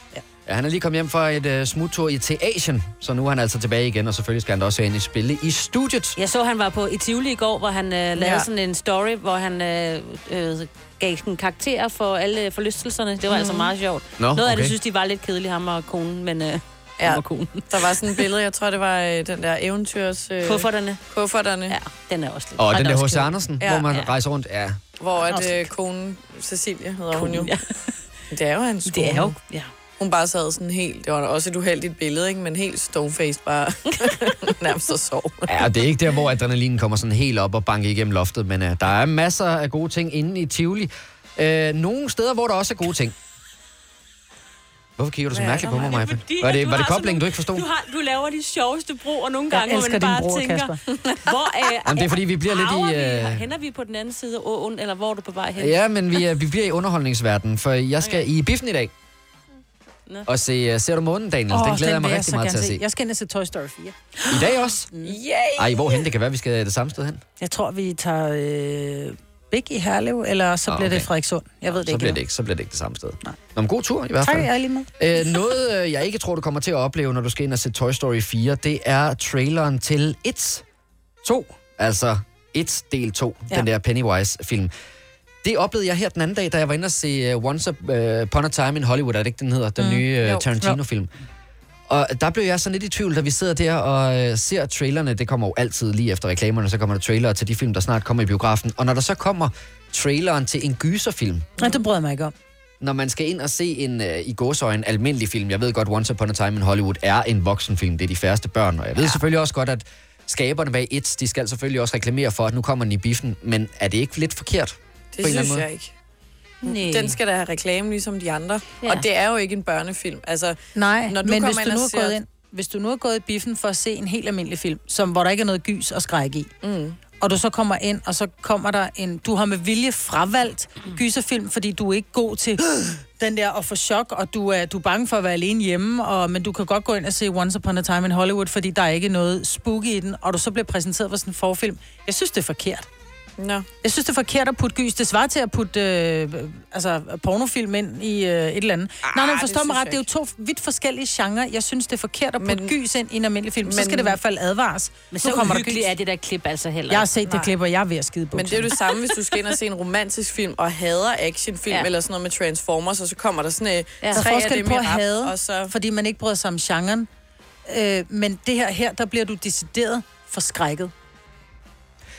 S1: Ja, han er lige kommet hjem fra et uh, smuttur i til Asien, så nu er han altså tilbage igen, og selvfølgelig skal han da også ind i spille i studiet.
S3: Jeg så, han var på i Tivoli i går, hvor han øh, lavede
S4: Ja.
S3: sådan en story, hvor han øh, øh, gav sådan karakterer for alle forlystelserne. Det var mm. altså meget sjovt.
S1: Nå,
S3: Noget af
S1: okay.
S3: det synes de var lidt kedelige, ham og konen, men øh, ja.
S4: Ja.
S3: ham og konen.
S4: Der var sådan et billede, jeg tror, det var øh, den der eventyrs... Øh,
S3: Kufferterne,
S4: Kufferterne, ja.
S3: ja, den er også lidt.
S1: Og den
S3: er
S1: der
S3: også
S1: H.C.
S3: kedelig.
S1: Andersen,
S4: Ja,
S1: hvor man
S3: ja.
S1: rejser rundt. Ja,
S4: hvor at, øh, konen Cecilie hedder hun jo.
S3: Ja.
S4: Det er jo hans kone.
S3: Det er jo, ja.
S4: Hun bare sad sådan helt... Det var da også et uheldigt billede, ikke? Men helt stone-faced bare nærmest og sov.
S1: Ja, og det er ikke der, hvor adrenalinen kommer sådan helt op og banker igennem loftet, men uh, der er masser af gode ting inde i Tivoli. Uh, nogle steder, hvor der også er gode ting. Hvorfor kigger du så
S4: Hvad er
S1: mærkeligt
S4: der,
S1: på mig,
S3: Det er
S1: Maja?
S3: fordi,
S1: Var
S3: at
S1: det,
S3: du
S1: var det
S3: har
S1: koblingen, du ikke
S3: sådan
S1: forstod?
S3: nogle- Du, har, du laver de sjoveste broer nogle gange,
S2: Jeg
S3: hvor
S2: elsker
S3: man
S2: din
S3: bare
S2: bror,
S3: tænker...
S2: Kasper.
S3: Hvor, øh,
S1: Jamen, det er, fordi vi bliver lidt i,
S3: arver Vi,
S1: øh,
S3: hænder vi på den anden side af åen, eller hvor er du på vej hen?
S1: Ja, men vi, uh, vi bliver i underholdningsverdenen, for jeg skal i biffen i dag.
S3: Nå.
S1: Og se, uh, ser du månen, Daniel? Oh, den glæder jeg mig
S2: vil
S1: rigtig
S2: så
S1: meget
S2: gerne
S1: til at se.
S2: Jeg skal ind og se Toy Story 4.
S1: I dag også?
S4: Yay!
S1: Ej, hvorhen? Det kan være, vi skal det samme sted hen.
S2: Jeg tror, Mm. vi tager øh, Big i Herlev, eller så
S1: Ah,
S2: bliver okay.
S1: okay.
S2: det Frederikssund. Jeg ved det
S1: Så
S2: ikke.
S1: bliver
S2: endnu.
S1: det ikke, så bliver det ikke det samme sted. Nej. Nå, men god tur i hvert fald.
S2: Tak, jeg er lige med.
S1: Øh, noget, øh, jeg ikke tror, du kommer til at opleve, når du skal ind og se Toy Story 4, det er traileren til It 2. Altså It del 2, ja.
S2: Ja.
S1: den der Pennywise-film. Det oplevede jeg her den anden dag, da jeg var inde og se uh, Once Upon a Time in Hollywood, er det ikke, den hedder? Den mm. nye
S4: Jo.
S1: uh, Tarantino-film. Og der blev jeg sådan lidt i tvivl, da vi sidder der og øh, ser trailerne. Det kommer jo altid lige efter reklamerne, så kommer der trailere til de film, der snart kommer i biografen. Og når der så kommer traileren til en gyserfilm,
S2: Nej, det bryder jeg mig ikke om.
S1: når man skal ind og se en øh, i gåsøjne almindelig film, jeg ved godt, Once Upon a Time in Hollywood er en voksenfilm, det er de færreste børn, og jeg ved ja. selvfølgelig også godt, at skaberne bag et, de skal selvfølgelig også reklamere for, at nu kommer den i biffen, men er det ikke lidt forkert?
S4: Det
S1: på en eller anden
S4: synes
S1: måde.
S4: jeg ikke.
S3: Nej.
S4: Den skal da have reklame, ligesom de andre.
S3: Ja.
S4: Ja. Og det er jo ikke en børnefilm. Altså,
S2: Nej,
S4: Når
S2: Når
S4: du
S2: du men
S4: kommer
S2: hvis du
S4: ind
S2: nu
S4: og
S2: er
S4: ser-
S2: gået ind, hvis du nu er gået i biffen for at se en helt almindelig film, som, hvor der ikke er noget gys og skræk i, mm. og du så kommer ind, og så kommer der en... Du har med vilje fravalgt gyserfilm, fordi du er ikke god til den der at få chok, og du er, du er bange for at være alene hjemme, og, men du kan godt gå ind og se Once Upon a Time in Hollywood, fordi der er ikke noget spooky i den, og du så bliver præsenteret for sådan en forfilm. Jeg synes, det er forkert.
S4: Nå.
S2: Jeg synes, det er forkert at putte gys. Det svarer til at putte øh, altså, pornofilm ind i øh, et eller andet. Ah, nej, nej,
S4: det
S2: forstår mig
S4: synes
S2: ret.
S4: jeg
S2: Det er jo to vidt forskellige genrer. Jeg synes, det er forkert at putte
S4: Men-
S2: gys ind i en almindelig film. Men, så
S4: men-
S2: skal det i hvert fald advares.
S3: Men så
S2: nu kommer der gys.
S3: uhyggeligt er det der klip altså heller.
S2: Jeg har
S3: Jeg...
S2: set det klip, og jeg er ved at skide
S4: Men det er jo det samme, hvis du skal ind og se en romantisk film og hader actionfilm
S3: Ja.
S4: ja. eller sådan noget med Transformers, og så kommer der sådan øh, ja.
S2: Der er
S4: tre af
S2: forskel
S4: dem
S2: på
S4: i
S2: at
S4: rap,
S2: hade,
S4: og så...
S2: fordi man ikke bryder sig om genren. Øh, men det her her, der bliver du decideret forskrækket.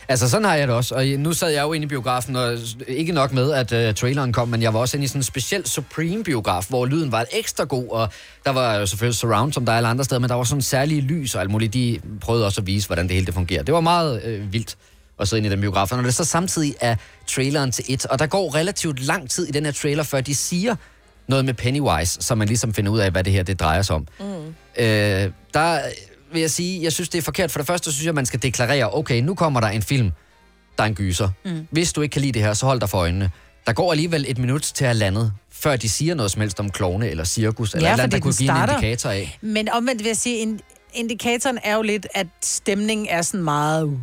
S1: Altså, sådan har jeg det også. Og nu sad jeg jo inde i biografen, og ikke nok med, at uh, traileren kom, men jeg var også inde i sådan en speciel Supreme-biograf, hvor lyden var ekstra god, og der var jo selvfølgelig surround, som der er alle andre steder, men der var sådan særlige lys og alt muligt. De prøvede også at vise, hvordan det hele det fungerer. Det var meget øh, vildt at sidde inde i den biograf. Og når det så samtidig er traileren til et, og der går relativt lang tid i den her trailer, før de siger noget med Pennywise, så man ligesom finder ud af, hvad det her det drejer sig om.
S2: Mm.
S1: Øh, der vil jeg sige, jeg synes, det er forkert. For det første synes jeg, man skal deklarere, okay, nu kommer der en film, der er en gyser. Mm. Hvis du ikke kan lide det her, så hold dig for øjnene. Der går alligevel et minut til at lande, før de siger noget som helst om klovne eller cirkus, eller
S2: Ja,
S1: et eller andet,
S2: fordi
S1: der
S2: den
S1: kunne give
S2: starter-
S1: en indikator af.
S2: Men omvendt vil jeg sige, en indikatoren er jo lidt, at stemningen er sådan meget... uh,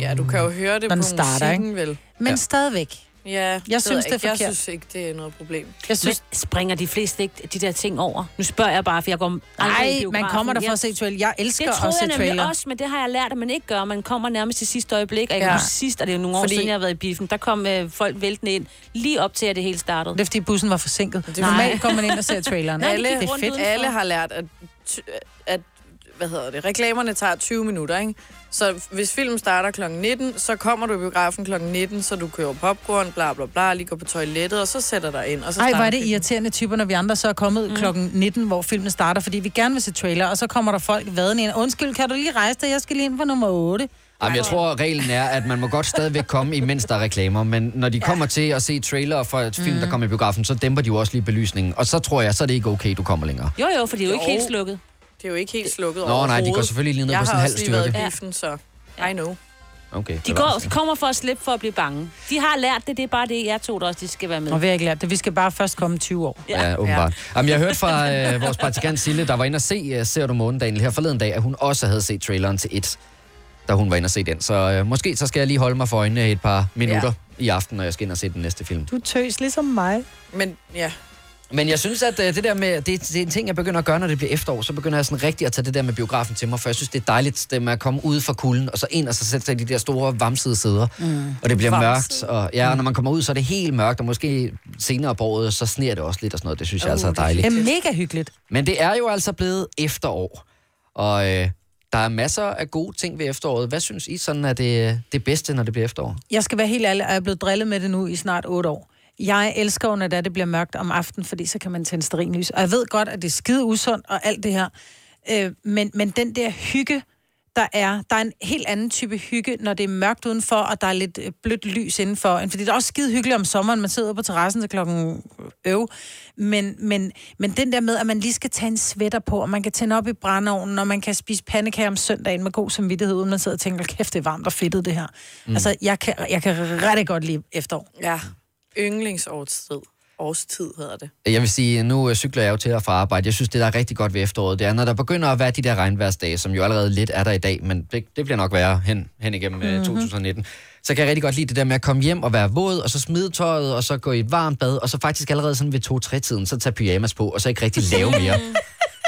S4: Ja, du kan jo høre det
S2: Når den
S4: på
S2: starter,
S4: starter, musikken, ikke? vel?
S2: Men
S1: Ja.
S2: ja. stadigvæk.
S4: Ja, det ved
S2: synes, det er
S4: ikke. Jeg
S2: forkert.
S4: synes ikke, det er noget problem.
S2: Jeg synes,
S3: Men springer de fleste ikke de der ting over? Nu spørger jeg bare, for jeg går aldrig i
S2: Nej, man
S3: biografen.
S2: kommer der for
S3: Jeg-
S2: at se trailer. Jeg elsker
S3: Det
S2: at
S3: troede
S2: se
S3: jeg nemlig
S2: trailer.
S3: også, men det har jeg lært, at man ikke gør. Man kommer nærmest til sidste øjeblik, og jeg ja.
S4: Ja.
S3: kan huske sidst, og det er jo nogle år Fordi...
S4: Fordi-
S3: siden, jeg har været i biffen, der kom øh, folk væltende ind, lige op til, at det hele startede.
S2: Det er, fordi bussen var forsinket. Det
S4: er-
S2: Normalt går man ind og ser traileren.
S3: Nej, de
S2: Alle,
S3: gik
S2: det er
S3: rundt
S2: fedt.
S3: udenfor.
S4: Alle har lært, at, ty- at hvad hedder det, reklamerne tager 20 minutter, ikke? Så hvis filmen starter kl. 19, så kommer du i biografen kl. 19, så du køber popcorn, bla bla bla, lige går på toilettet, og så sætter dig ind. Og så
S2: Ej, hvor
S4: starter
S2: er det
S4: filmen.
S2: irriterende typer, når vi andre så er kommet mm. klokken 19, hvor filmen starter, fordi vi gerne vil se trailer, og så kommer der folk vadende ind. Undskyld, kan du lige rejse dig? Jeg skal lige ind på nummer 8.
S1: Jamen, jeg tror, reglen er, at man må godt stadigvæk komme, imens der er reklamer, men når de kommer til at se trailer for et film, der kommer i biografen, så dæmper de jo også lige belysningen, og så tror jeg, så er det ikke okay, du kommer længere.
S3: Jo, jo, for det er jo, ikke
S4: Jo.
S3: helt slukket.
S4: Det er jo ikke helt slukket
S1: Nå nej, de går
S4: overhovedet.
S1: selvfølgelig lige ned
S4: Jeg
S1: på sådan en
S4: har
S1: halv
S4: også lige været i
S1: styrke.
S4: biffen, så I know.
S1: Okay,
S3: De,
S1: det var
S3: går,
S1: sådan.
S3: de kommer for at slippe for at blive bange. De har lært det, det er bare det, jeg tog der også, de skal være med.
S2: Og vi har ikke lært det. Vi skal bare først komme 20 år.
S1: Ja, ja åbenbart. Ja. Jamen, jeg hørte fra øh, vores praktikant Sille, der var inde og se øh, Ser du månen, Daniel, her forleden dag, at hun også havde set traileren til et, da hun var inde og se den. Så øh, måske så skal jeg lige holde mig for øjnene et par minutter ja. i aften, når jeg skal ind og se den næste film.
S2: Du tøs ligesom mig.
S4: Men ja,
S1: Men jeg synes, at øh, det der med, det, det er en ting, jeg begynder at gøre, når det bliver efterår, så begynder jeg sådan rigtig at tage det der med biografen til mig, for jeg synes, det er dejligt det med at komme ud fra kulden, og så ind og så sætte sig i de der store vamsede sæder, mm. og det bliver mørkt, og ja, og når man kommer ud, så er det helt mørkt, og måske senere på året, så sneer det også lidt og sådan noget, det synes jeg altså er dejligt.
S2: Uh. Det er mega hyggeligt.
S1: Men det er jo altså blevet efterår, og øh, der er masser af gode ting ved efteråret. Hvad synes I sådan er det, det bedste, når det bliver efterår?
S2: Jeg skal være helt ærlig, og jeg er blevet drillet med det nu i snart 8 år. Jeg elsker jo, når det er, det bliver mørkt om aftenen, fordi så kan man tænde sterinlys. Og jeg ved godt, at det er skide usundt og alt det her. Øh, men, men den der hygge, der er, der er en helt anden type hygge, når det er mørkt udenfor, og der er lidt øh, blødt lys indenfor. End- Fordi det er også skide hyggeligt om sommeren, man sidder ude på terrassen til klokken øh, øv. Men, men, men den der med, at man lige skal tage en sweater på, og man kan tænde op i brændeovnen, og man kan spise pandekager om søndagen med god samvittighed, uden man sidder og tænker, kæft, det er varmt og fedtet det her. Mm. Altså, jeg kan, jeg kan rigtig godt lide efterår. Mm.
S4: ja. yndlingsårstid. Årstid hedder det.
S1: Jeg vil sige, nu øh, cykler jeg jo til og fra arbejde. Jeg synes, det der er rigtig godt ved efteråret, det er, når der begynder at være de der regnværsdage, som jo allerede lidt er der i dag, men det, det bliver nok værre hen, hen igennem mm-hmm. 2019. Så kan jeg rigtig godt lide det der med at komme hjem og være våd, og så smide tøjet, og så gå i et varmt bad, og så faktisk allerede sådan ved 2-3-tiden, så tage pyjamas på, og så ikke rigtig lave mere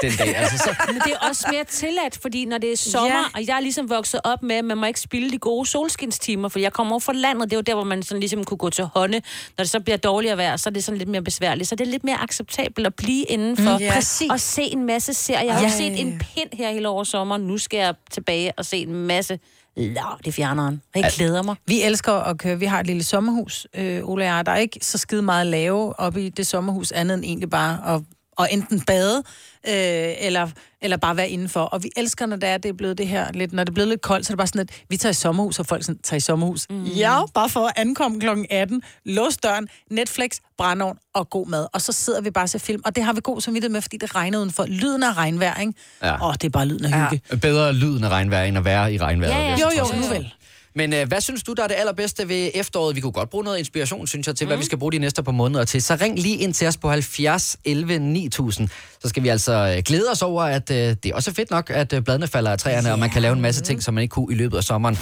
S1: den dag. Altså, så,
S3: Men det er også mere tilladt, fordi når det er sommer, ja.
S2: Ja.
S3: og jeg er ligesom vokset op med, at man må ikke spille de gode solskinstimer, for jeg kommer over fra landet, det er jo der, hvor man sådan ligesom kunne gå til hånde. Når det så bliver dårligere vejr, så er det sådan lidt mere besværligt. Så det er lidt mere acceptabelt at blive indenfor.
S2: Mm, ja. Præcis.
S3: Og se en masse serier. Jeg har
S2: Ja.
S3: jo set en pind her hele over sommeren. Nu skal jeg tilbage og se en masse lort i fjerneren. Og jeg glæder mig.
S2: Vi elsker at køre. Vi har et lille sommerhus, øh, Ola og jeg. Der er ikke så skide meget at lave op i det sommerhus, andet end egentlig bare at, at enten bade, øh, eller, eller bare være indenfor. Og vi elsker, når det er, det er blevet det her lidt, når det er blevet lidt koldt, så er det bare sådan, at vi tager i sommerhus, og folk sådan, tager i sommerhus. Mm. Ja, bare for at ankomme kl. 18, lås døren, Netflix, brændeovn og god mad. Og så sidder vi bare og ser film, og det har vi god samvittighed med, fordi det regner udenfor. Lyden af regnvejr, ikke?
S1: Ja.
S2: Ja. Åh, det er bare lyden af hygge.
S1: bedre lyden af regnvejr, end at være i regnvejret.
S3: Ja, ja.
S1: vil jeg
S2: Jo,
S1: så
S2: jo,
S1: trods alt
S2: nu
S1: sige.
S2: vel.
S1: Men øh, hvad synes du, der er det allerbedste ved efteråret? Vi kunne godt bruge noget inspiration, synes jeg, til mm.
S3: Mhm.
S1: hvad vi skal bruge de næste par måneder til. Så ring lige ind til os på 70 11 9000. Så skal vi altså øh, glæde os over, at øh, det er også fedt nok, at øh, bladene falder af træerne, yeah. og man kan lave en masse ting, som man ikke kunne i løbet af sommeren.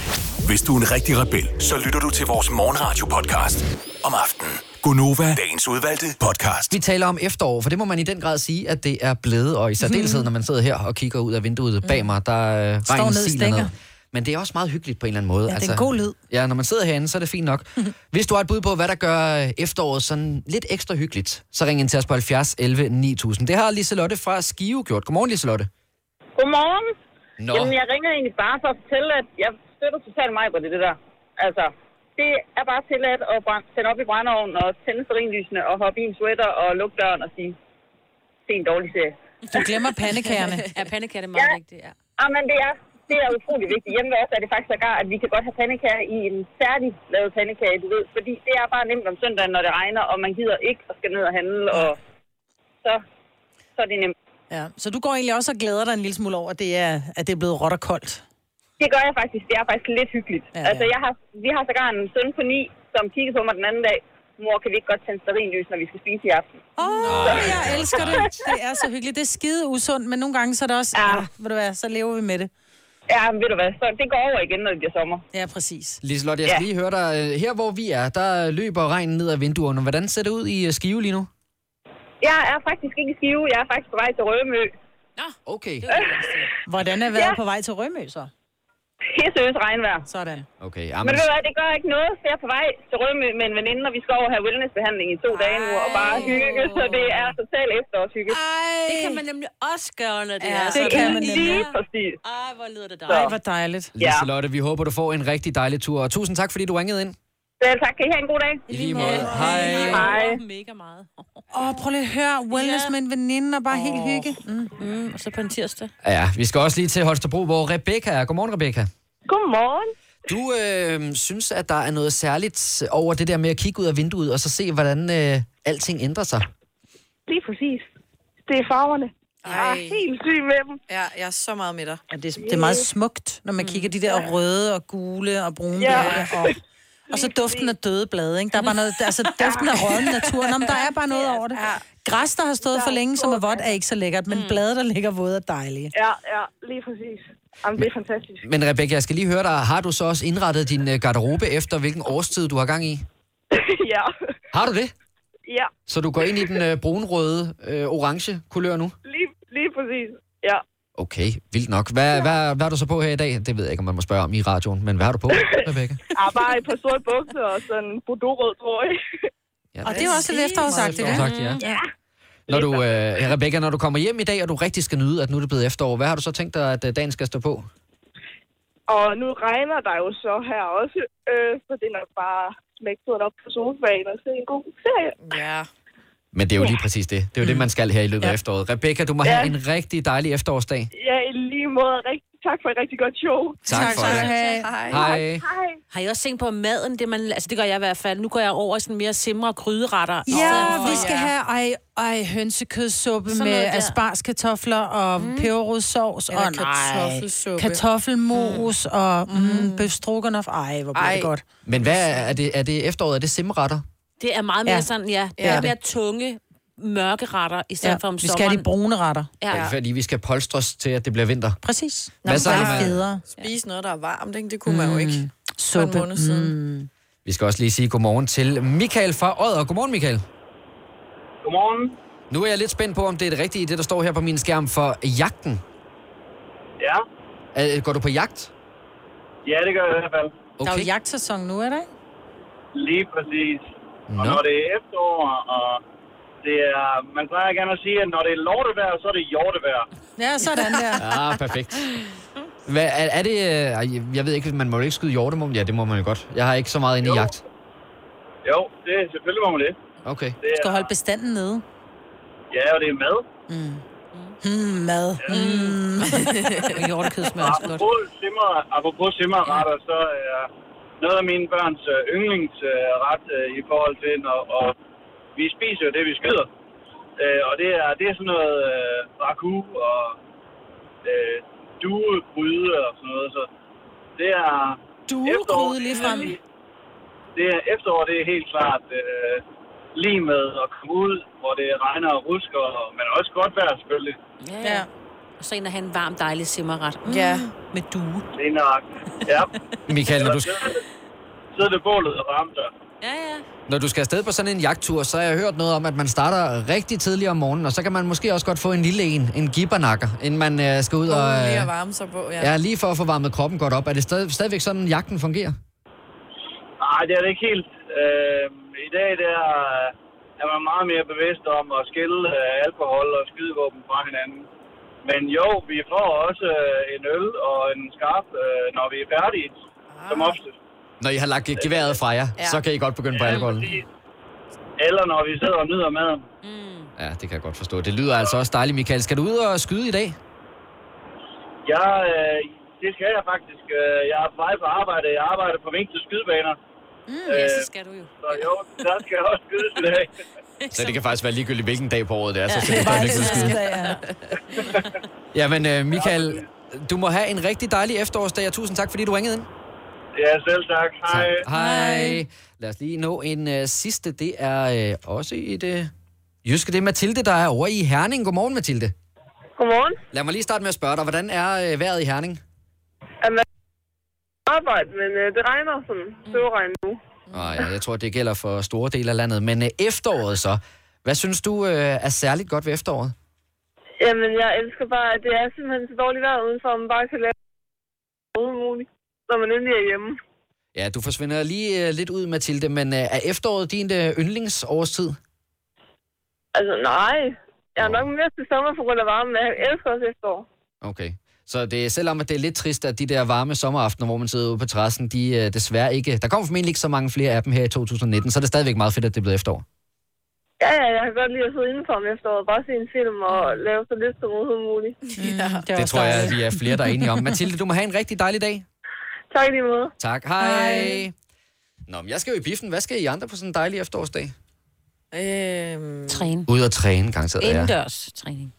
S11: Hvis du er en rigtig rebel, så lytter du til vores morgenradio-podcast om aftenen. Gunova, dagens udvalgte podcast.
S1: Vi taler om efterår, for det må man i den grad sige, at det er blevet, og i særdeleshed,
S2: Mhm.
S1: når man sidder her og kigger ud af vinduet bag mig, der øh, regner
S2: ned i
S1: siler
S2: stænger.
S1: ned. Men det er også meget hyggeligt på en eller anden måde. altså.
S2: Ja, det er en god lyd.
S1: Ja, når man sidder herinde, så er det fint nok. Hvis du har et bud på, hvad der gør øh, efteråret sådan lidt ekstra hyggeligt, så ring ind til os på 70 11 9000. Det har Liselotte fra Skive gjort. Godmorgen, Liselotte.
S12: Godmorgen.
S1: Nå.
S12: Jamen, jeg ringer egentlig bare for at fortælle, at jeg støtter totalt mig på det, det der. Altså, det er bare tilladt at brænde, tænde op i brændeovnen og tænde serinlysene og hoppe i en sweater og lukke døren og sige, det er en dårlig serie.
S2: Du glemmer pandekagerne.
S3: ja, pandekagerne er meget ja. vigtige, ja.
S12: Jamen, ah, det er, det er utrolig vigtigt. Hjemme ved os er det faktisk sågar, at vi kan godt have pandekager i en særlig lavet pandekage, du ved. Fordi det er bare nemt om søndagen, når det regner, og man gider ikke og skal ned og handle, og så, så er det nemt.
S2: Ja, så du går egentlig også og glæder dig en lille smule over, at det er, at det er blevet råt og koldt.
S12: Det gør jeg faktisk. Det er faktisk lidt hyggeligt. Ja, ja. Altså, jeg har, vi har sågar en søn på ni, som kiggede på mig den anden dag. Mor, kan vi ikke godt tænde sterinlys, når vi skal spise i aften?
S2: Åh, oh, jeg elsker det. Det er så hyggeligt. Det er skide usundt, men nogle gange så er det også, ja. ah, ved du hvad, så lever vi med det.
S12: Ja, men ved du hvad, så det går over igen, når det bliver sommer.
S2: Ja, præcis.
S1: Liselotte, jeg skal lige høre dig. Øh, Her, hvor vi er, der løber regnen ned ad vinduerne. Hvordan ser det ud i øh, Skive lige nu?
S12: Jeg er faktisk ikke i Skive. Jeg er faktisk på vej til Rømø.
S1: Okay,
S2: Hvordan er vejret ja. på vej til Rømø så?
S12: Pisseøs regnvejr.
S2: Sådan.
S1: okay.
S12: Men
S1: Jamen,
S12: ved du hvad, det gør ikke noget, for jeg er på vej til Rømø med en veninde, og vi skal over og have wellnessbehandling i to Ej. dage nu, og bare hygge, så det er totalt efterårshygge.
S3: Det kan man nemlig også gøre, når det
S2: Ja,
S3: er
S2: det
S3: sådan.
S2: kan man
S12: Lige
S2: nemlig.
S12: præcis.
S3: Ej, hvor lyder det
S2: Ej,
S3: dejligt.
S2: hvor dejligt.
S12: Ja.
S1: Liselotte, vi håber, du får en rigtig dejlig tur. Og tusind tak, fordi du ringede ind.
S12: Selv tak. Kan I have en god dag?
S1: I lige måde. Hej.
S12: Hej.
S3: Jeg håber Mega meget.
S2: Åh, oh, prøv lige at høre. Wellness
S3: Ja.
S2: ja. med en veninde og bare oh. helt hygge. Mm.
S3: Mm, og så på en tirsdag.
S1: Ja, vi skal også lige til Holstebro, hvor Rebecca er. Godmorgen, Rebecca.
S12: Godmorgen.
S1: Du øh, synes, at der er noget særligt over det der med at kigge ud af vinduet, og så se, hvordan øh, alting ændrer sig.
S10: Lige præcis. Det er farverne. Jeg er
S4: Ej,
S10: helt syg med dem.
S4: ja, jeg er så meget med dig.
S2: Og det, det er meget
S4: Øh,
S2: smukt, når man kigger de der røde og gule og brune
S10: Ja.
S2: blade. Og, og så duften af døde blade, ikke? Der er bare noget, altså duften af rådden natur. Nå, men der er bare noget over det. Græs, der har stået for længe, som er vådt, er ikke så lækkert, men blade, der ligger våde, er dejlige.
S10: Ja, ja, lige præcis. Jamen, det er fantastisk.
S1: Men Rebecca, jeg skal lige høre dig. Har du så også indrettet din øh, garderobe efter, hvilken årstid du har gang i?
S10: ja,
S1: Har du det?
S10: ja,
S1: Så du går ind i den øh, brunrøde, øh, orange kulør nu?
S10: lige, lige præcis. Ja.
S1: Okay, vildt nok. Hvad, ja. hvad, hvad er du så på her i dag? Det ved jeg ikke, om man må spørge om i radioen, men hvad har du på, Rebecca?
S10: Ah, bare et par sorte bukser og sådan en bordeaux-rød trøje.
S1: Ja,
S2: Og det er jo også lidt efterårsagtigt,
S1: Meget
S2: ikke?
S1: efterårsagtigt, ja. Når du, øh, Rebecca, når du kommer hjem i dag, og du rigtig skal nyde, at nu er det blevet efterår, hvad har du så tænkt dig, at øh, dagen skal stå på?
S10: Og nu regner der jo så her også, øh, så det er nok bare smække turen op på sofaen og se en god serie.
S4: Ja. Mm.
S1: Men det er jo lige præcis det. Det er jo det, man skal her i løbet af efteråret. Rebecca, du må have en rigtig dejlig efterårsdag.
S10: Ja, i lige måde. Rigtig, tak for et rigtig godt show.
S1: Tak, tak for
S2: skal
S1: det.
S2: du have.
S4: Hej.
S1: Hej.
S10: Hej.
S3: Har I også tænkt på maden? Det, man, altså, det gør jeg i hvert fald. Nu går jeg over i sådan mere simre og gryderetter.
S2: Ja,
S3: Og-
S2: vi skal have ej, ej, hønsekødssuppe
S3: Sådan
S2: med
S3: noget der.
S2: asparskartofler og mm. peberrodssovs og
S4: kartoffelsuppe.
S2: kartoffelmos mm. og mm, bøf stroganoff. Ej, hvor bliver
S4: Ej.
S2: det godt.
S1: Men hvad er- er det, er det efteråret? Er det simretter?
S3: Det er meget mere
S2: Ja.
S3: sådan, ja. Det
S4: Ja.
S3: er mere tunge, mørke retter, i stedet
S2: Ja,
S3: ja. for om
S2: vi skal
S3: sommeren.
S2: have de brune retter.
S1: Ja.
S3: ja.
S1: Fordi vi skal polstres til, at det bliver vinter.
S2: Præcis.
S1: Hvad så
S2: det
S1: med-
S2: er federe. Mm.
S4: Spise noget, der er varmt, ikke? Det kunne man jo ikke for en
S2: Suppe.
S4: måned siden.
S1: Mm. Vi skal også lige sige godmorgen til Michael fra Odder. Godmorgen, Michael.
S12: Godmorgen.
S1: Nu er jeg lidt spændt på, om det er det rigtige, det der står her på min skærm for jagten.
S12: Ja.
S1: Øh, Går du på jagt?
S12: Ja, det gør jeg i hvert fald.
S2: Der er jo
S1: Okay.
S2: jagtsæson nu, er der ikke?
S12: Lige præcis. Og
S1: Nå.
S12: når det er efterår, og det er, man plejer gerne at sige, at når det er lortevejr, så er det hjortevejr.
S2: Ja, sådan der.
S1: Ah, perfekt. Hvad, er, er det... øh, ej, Jeg ved ikke, man må jo ikke skyde hjorte, må man? Ja, det må man jo godt. Jeg har ikke så meget inde i
S12: Jo.
S1: jagt.
S12: Jo, det er selvfølgelig må man det.
S1: Okay.
S12: det
S2: Du skal
S12: er,
S2: holde bestanden nede.
S12: ja, og det er mad.
S2: Mm, mad. Mm. Og Hjortekød smager også godt.
S12: Apropos simmer, apropos simmerretter, så er noget af mine børns øh, yndlingsret øh, i forhold til, når, og vi spiser jo det, vi skyder. Øh, og det er, det er sådan noget øh, ragu og øh, duegryde og sådan noget. Så det er,
S2: Duelgryde lige frem.
S13: Det er efterår, det er helt klart øh, lige med at komme ud, hvor det regner og rusker, og- men også godt vejr selvfølgelig.
S3: Ja. ja. Og så ind og have en varm, dejlig simmerret. Mm.
S13: Ja.
S3: Med due.
S13: Det er nok. Ja.
S1: Michael, når du,
S13: Sidder det bålet og varmt der.
S1: når du skal afsted på sådan en jagttur, så har jeg hørt noget om, at man starter rigtig tidligt om morgenen, og så kan man måske også godt få en lille en, en gibbernakker, inden man øh, skal ud og...
S4: Lige
S1: Øh,
S4: at varme sig på, ja.
S1: ja, lige for at få varmet kroppen godt op. Er det stadig, stadigvæk sådan, jagten fungerer?
S13: Nej, det er det ikke helt. Øh, I dag der er man meget mere bevidst om at skille øh, alkohol og skydevåben fra hinanden. Men jo, vi får også øh, en øl og en skarp, øh, når vi er færdige, som
S3: Ah.
S13: oftest.
S1: Når I har lagt geværet fra jer, ja. så kan I godt begynde på alkoholen.
S13: Eller når vi sidder og nyder maden.
S1: Ja, det kan jeg godt forstå. Det lyder altså også dejligt, Michael. Skal du ud og skyde i dag?
S13: Jeg, øh, det skal jeg faktisk. Øh, Jeg er på vej på arbejde. Jeg arbejder på mink til skydebaner. Øh,
S3: Mm,
S1: ja, så
S3: skal du jo.
S13: Så jo, der skal jeg også skydes i dag.
S1: Så det kan faktisk være ligegyldigt, hvilken dag på året det er, så skal
S13: Ja.
S1: du stadigvæk ud og skyde.
S2: Ja.
S1: Jamen, øh, Michael, du må have en rigtig dejlig efterårsdag, og tusind tak, fordi du ringede ind.
S13: Ja, selv tak. Hej.
S1: Hej. Lad os lige nå en øh, sidste. Det er øh, også et øh, jyske. Det er Mathilde, der er over i Herning. Godmorgen, Mathilde.
S14: Godmorgen.
S1: Lad mig lige starte med at spørge dig, hvordan er øh, vejret i Herning?
S14: Jamen, jeg arbejde, men øh, det regner sådan.
S1: Mm.
S14: Søvregn nu.
S1: Og, øh, jeg tror, det gælder for store dele af landet. Men øh, efteråret så. Hvad synes du øh, er særligt godt ved efteråret?
S14: Jamen, jeg elsker bare, at det er simpelthen så dårligt vejr udenfor, at man bare kan lave noget muligt, når man endelig er hjemme.
S1: Ja, du forsvinder lige øh, lidt ud, Mathilde, men øh, er efteråret din øh, yndlingsårstid?
S14: Altså, nej. Jeg er nok mere til sommer på grund af varmen, men jeg elsker også efterår.
S1: Okay. Så det er, selvom at det er lidt trist, at de der varme sommeraftener, hvor man sidder ude på terrassen, de øh, desværre ikke... Der kommer formentlig ikke så mange flere af dem her i 2019, så er det stadigvæk meget fedt, at det er blevet efterår.
S14: Ja, ja, jeg kan godt lide at sidde indenfor om efteråret, bare se en film og lave så lidt som overhovedet muligt.
S2: Ja,
S1: Det, det tror jeg, at vi er flere, der er enige om. Mathilde, du må have en rigtig dejlig dag.
S14: Tak i lige måde.
S1: Tak. Hej. Hej. Nå, men jeg skal jo i biffen. Hvad skal I andre på sådan en dejlig efterårsdag?
S4: Øhm...
S3: Træne.
S1: Ud at træne, garanteret. Ja.
S3: Indendørs træning.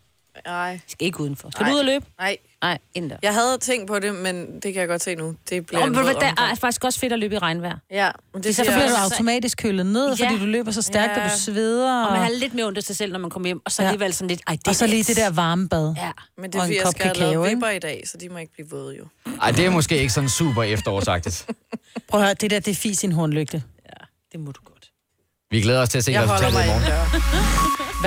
S4: Nej.
S3: Skal ikke udenfor. Skal du ud og løbe?
S4: Nej.
S3: Nej, indendørs.
S4: Jeg havde tænkt på det, men det kan jeg godt se nu. Det bliver
S3: Nå,
S4: en
S3: men ved
S4: våd
S3: du hvad, der er
S4: omgang.
S3: faktisk også fedt at løbe i regnvejr.
S4: Ja, men
S2: Det så
S4: siger
S2: bliver
S4: jeg
S2: du
S4: også.
S2: automatisk kølet ned, fordi du løber så stærkt, og du sveder.
S3: Og man har lidt mere ondt af sig selv, når man kommer hjem. Og så
S2: Ja.
S3: alligevel sådan lidt, ej, det
S2: Og så
S3: er
S2: lige
S3: lidt-
S2: det der varme bad.
S3: Ja.
S4: Men det er
S2: og en
S4: fordi, jeg
S2: kop
S4: skal have
S2: kakao,
S4: lavet
S2: ikke?
S4: vipper i dag, så de må ikke blive våde jo.
S1: Ej, det er måske ikke sådan super efterårsagtigt.
S2: Prøv at høre, det der, det er fis i en hornlygte.
S3: Det må du godt.
S1: Vi glæder os til at se resultatet i morgen.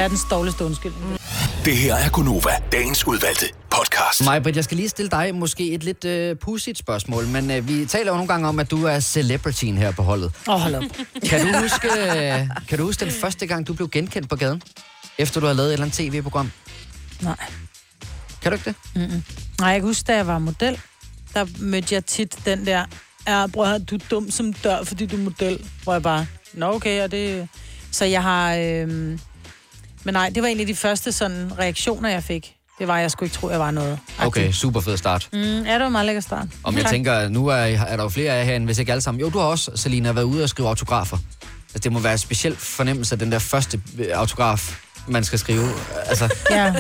S2: Verdens dårligste undskyldning.
S11: Det her er Gunova, dagens udvalgte podcast.
S1: Maja Britt, jeg skal lige stille dig måske et lidt øh, pudsigt spørgsmål, men øh, vi taler jo nogle gange om, at du er celebrityen her på holdet.
S2: Åh, oh, hold op.
S1: Kan du, huske, øh, kan du huske den første gang, du blev genkendt på gaden, efter du havde lavet et eller andet tv-program?
S2: Nej.
S1: Kan du ikke det?
S2: Mm-mm. Nej, jeg kan huske, da jeg var model, der mødte jeg tit den der, ja, bror, du er dum som dør, fordi du er model. Hvor jeg bare, nå okay, og det... Så jeg har... Øhm... Men nej, det var egentlig de første sådan reaktioner, jeg fik. Det var, at jeg skulle ikke tro, jeg var noget.
S1: Okay, super fed start.
S2: Mm, ja, det var meget lækker start.
S1: Om jeg
S2: Tak.
S1: tænker, nu er, er der jo flere af jer herinde, hvis ikke alle sammen. Jo, du har også, Selina, været ude og skrive autografer. Altså, det må være en speciel fornemmelse af den der første øh, autograf, man skal skrive. Altså,
S2: Ja.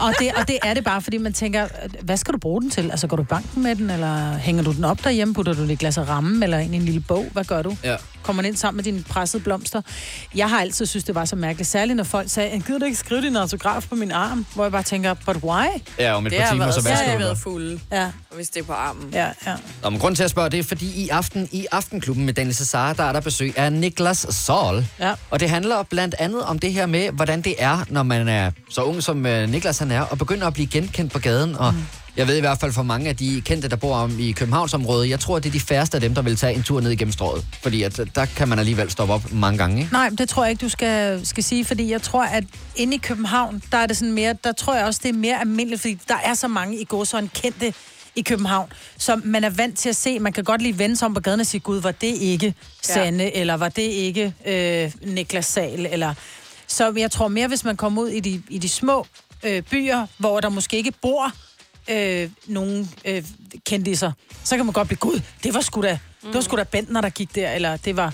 S2: Og det, og det er det bare, fordi man tænker, hvad skal du bruge den til? Altså, går du i banken med den, eller hænger du den op derhjemme? Putter du det i et glas af ramme, eller ind i en lille bog? Hvad gør du?
S1: Ja.
S2: Kommer den ind sammen med dine pressede blomster? Jeg har altid synes det var så mærkeligt, særligt når folk sagde, gider du ikke skrive din autograf på min arm? Hvor jeg bare tænker, but why?
S1: ja, om et
S2: Det
S1: par
S2: har
S1: timer,
S2: været-
S1: så
S2: så har
S1: vasker
S2: jeg
S1: du
S2: været
S1: dig.
S4: Fulde.
S2: Ja.
S4: Og hvis det er på armen.
S2: Ja, ja.
S1: Nå, men grunden til at spørge, det er fordi i aften i Aftenklubben med Daniel Cesar, der er der besøg af Niklas Sol.
S2: Ja.
S1: Og det handler blandt andet om det her med, hvordan det er, når man er så ung som øh, Niklas han er, og begynder at blive genkendt på gaden. Og mm. jeg ved i hvert fald for mange af de kendte, der bor om i Københavnsområdet, jeg tror, det er de færreste af dem, der vil tage en tur ned igennem strået. Fordi at, øh, der kan man alligevel stoppe op mange gange, ikke?
S2: Nej, men det tror jeg ikke, du skal, skal sige, fordi jeg tror, at inde i København, der er det sådan mere, der tror jeg også, det er mere almindeligt, fordi der er så mange i gåsøjne kendte i København, som man er vant til at se. Man kan godt lige vende sig om på gaden og sige, gud, var det ikke Sande, ja. eller var det ikke øh, Niklas Sal, eller... Så jeg tror mere, hvis man kommer ud i de, i de små øh, byer, hvor der måske ikke bor øh, nogen øh, kendte sig, så kan man godt blive, gud, det var sgu da, mm. det var sgu da Bentner, der gik der, eller det var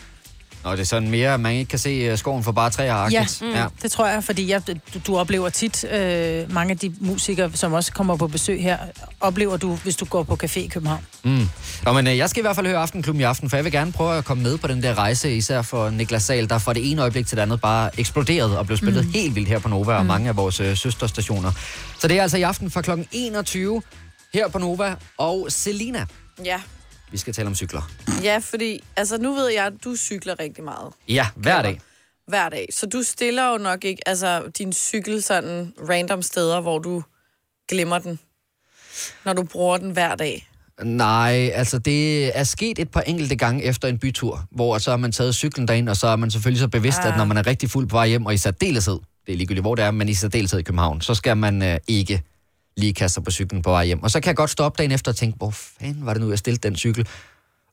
S1: Nå, det er sådan mere, at man ikke kan se øh, skoven for bare træer.
S2: Ja,
S1: agtigt.
S2: mm, ja, det tror jeg, fordi jeg, du, du oplever tit øh, mange af de musikere, som også kommer på besøg her, oplever du, hvis du går på café i København.
S1: Mm. Nå, men øh, jeg skal i hvert fald høre Aftenklubben i aften, for jeg vil gerne prøve at komme med på den der rejse, især for Niklas Sal, der fra det ene øjeblik til det andet bare eksploderede og blev spillet
S15: Mm.
S1: mm. helt vildt her på Nova og
S15: Mm.
S1: mange af vores øh, søsterstationer. Så det er altså i aften fra kl. 21 her på Nova og Selina.
S4: Ja.
S1: Vi skal tale om cykler.
S4: ja, fordi altså, nu ved jeg, at du cykler rigtig meget
S1: Ja, hver dag.
S4: hver dag. Så du stiller jo nok ikke altså, din cykel sådan random steder, hvor du glemmer den, når du bruger den hver dag.
S1: Nej, altså det er sket et par enkelte gange efter en bytur, hvor så har man taget cyklen derind, og så er man selvfølgelig så bevidst, ah.
S4: Ah.
S1: at når man er rigtig fuld på vej hjem, og i særdeleshed, det er ligegyldigt hvor det er, men i særdeleshed i København, så skal man øh, ikke lige kaste sig på cyklen på vej hjem. Og så kan jeg godt stoppe dagen efter og tænke, hvor fanden var det nu, jeg stillede den cykel?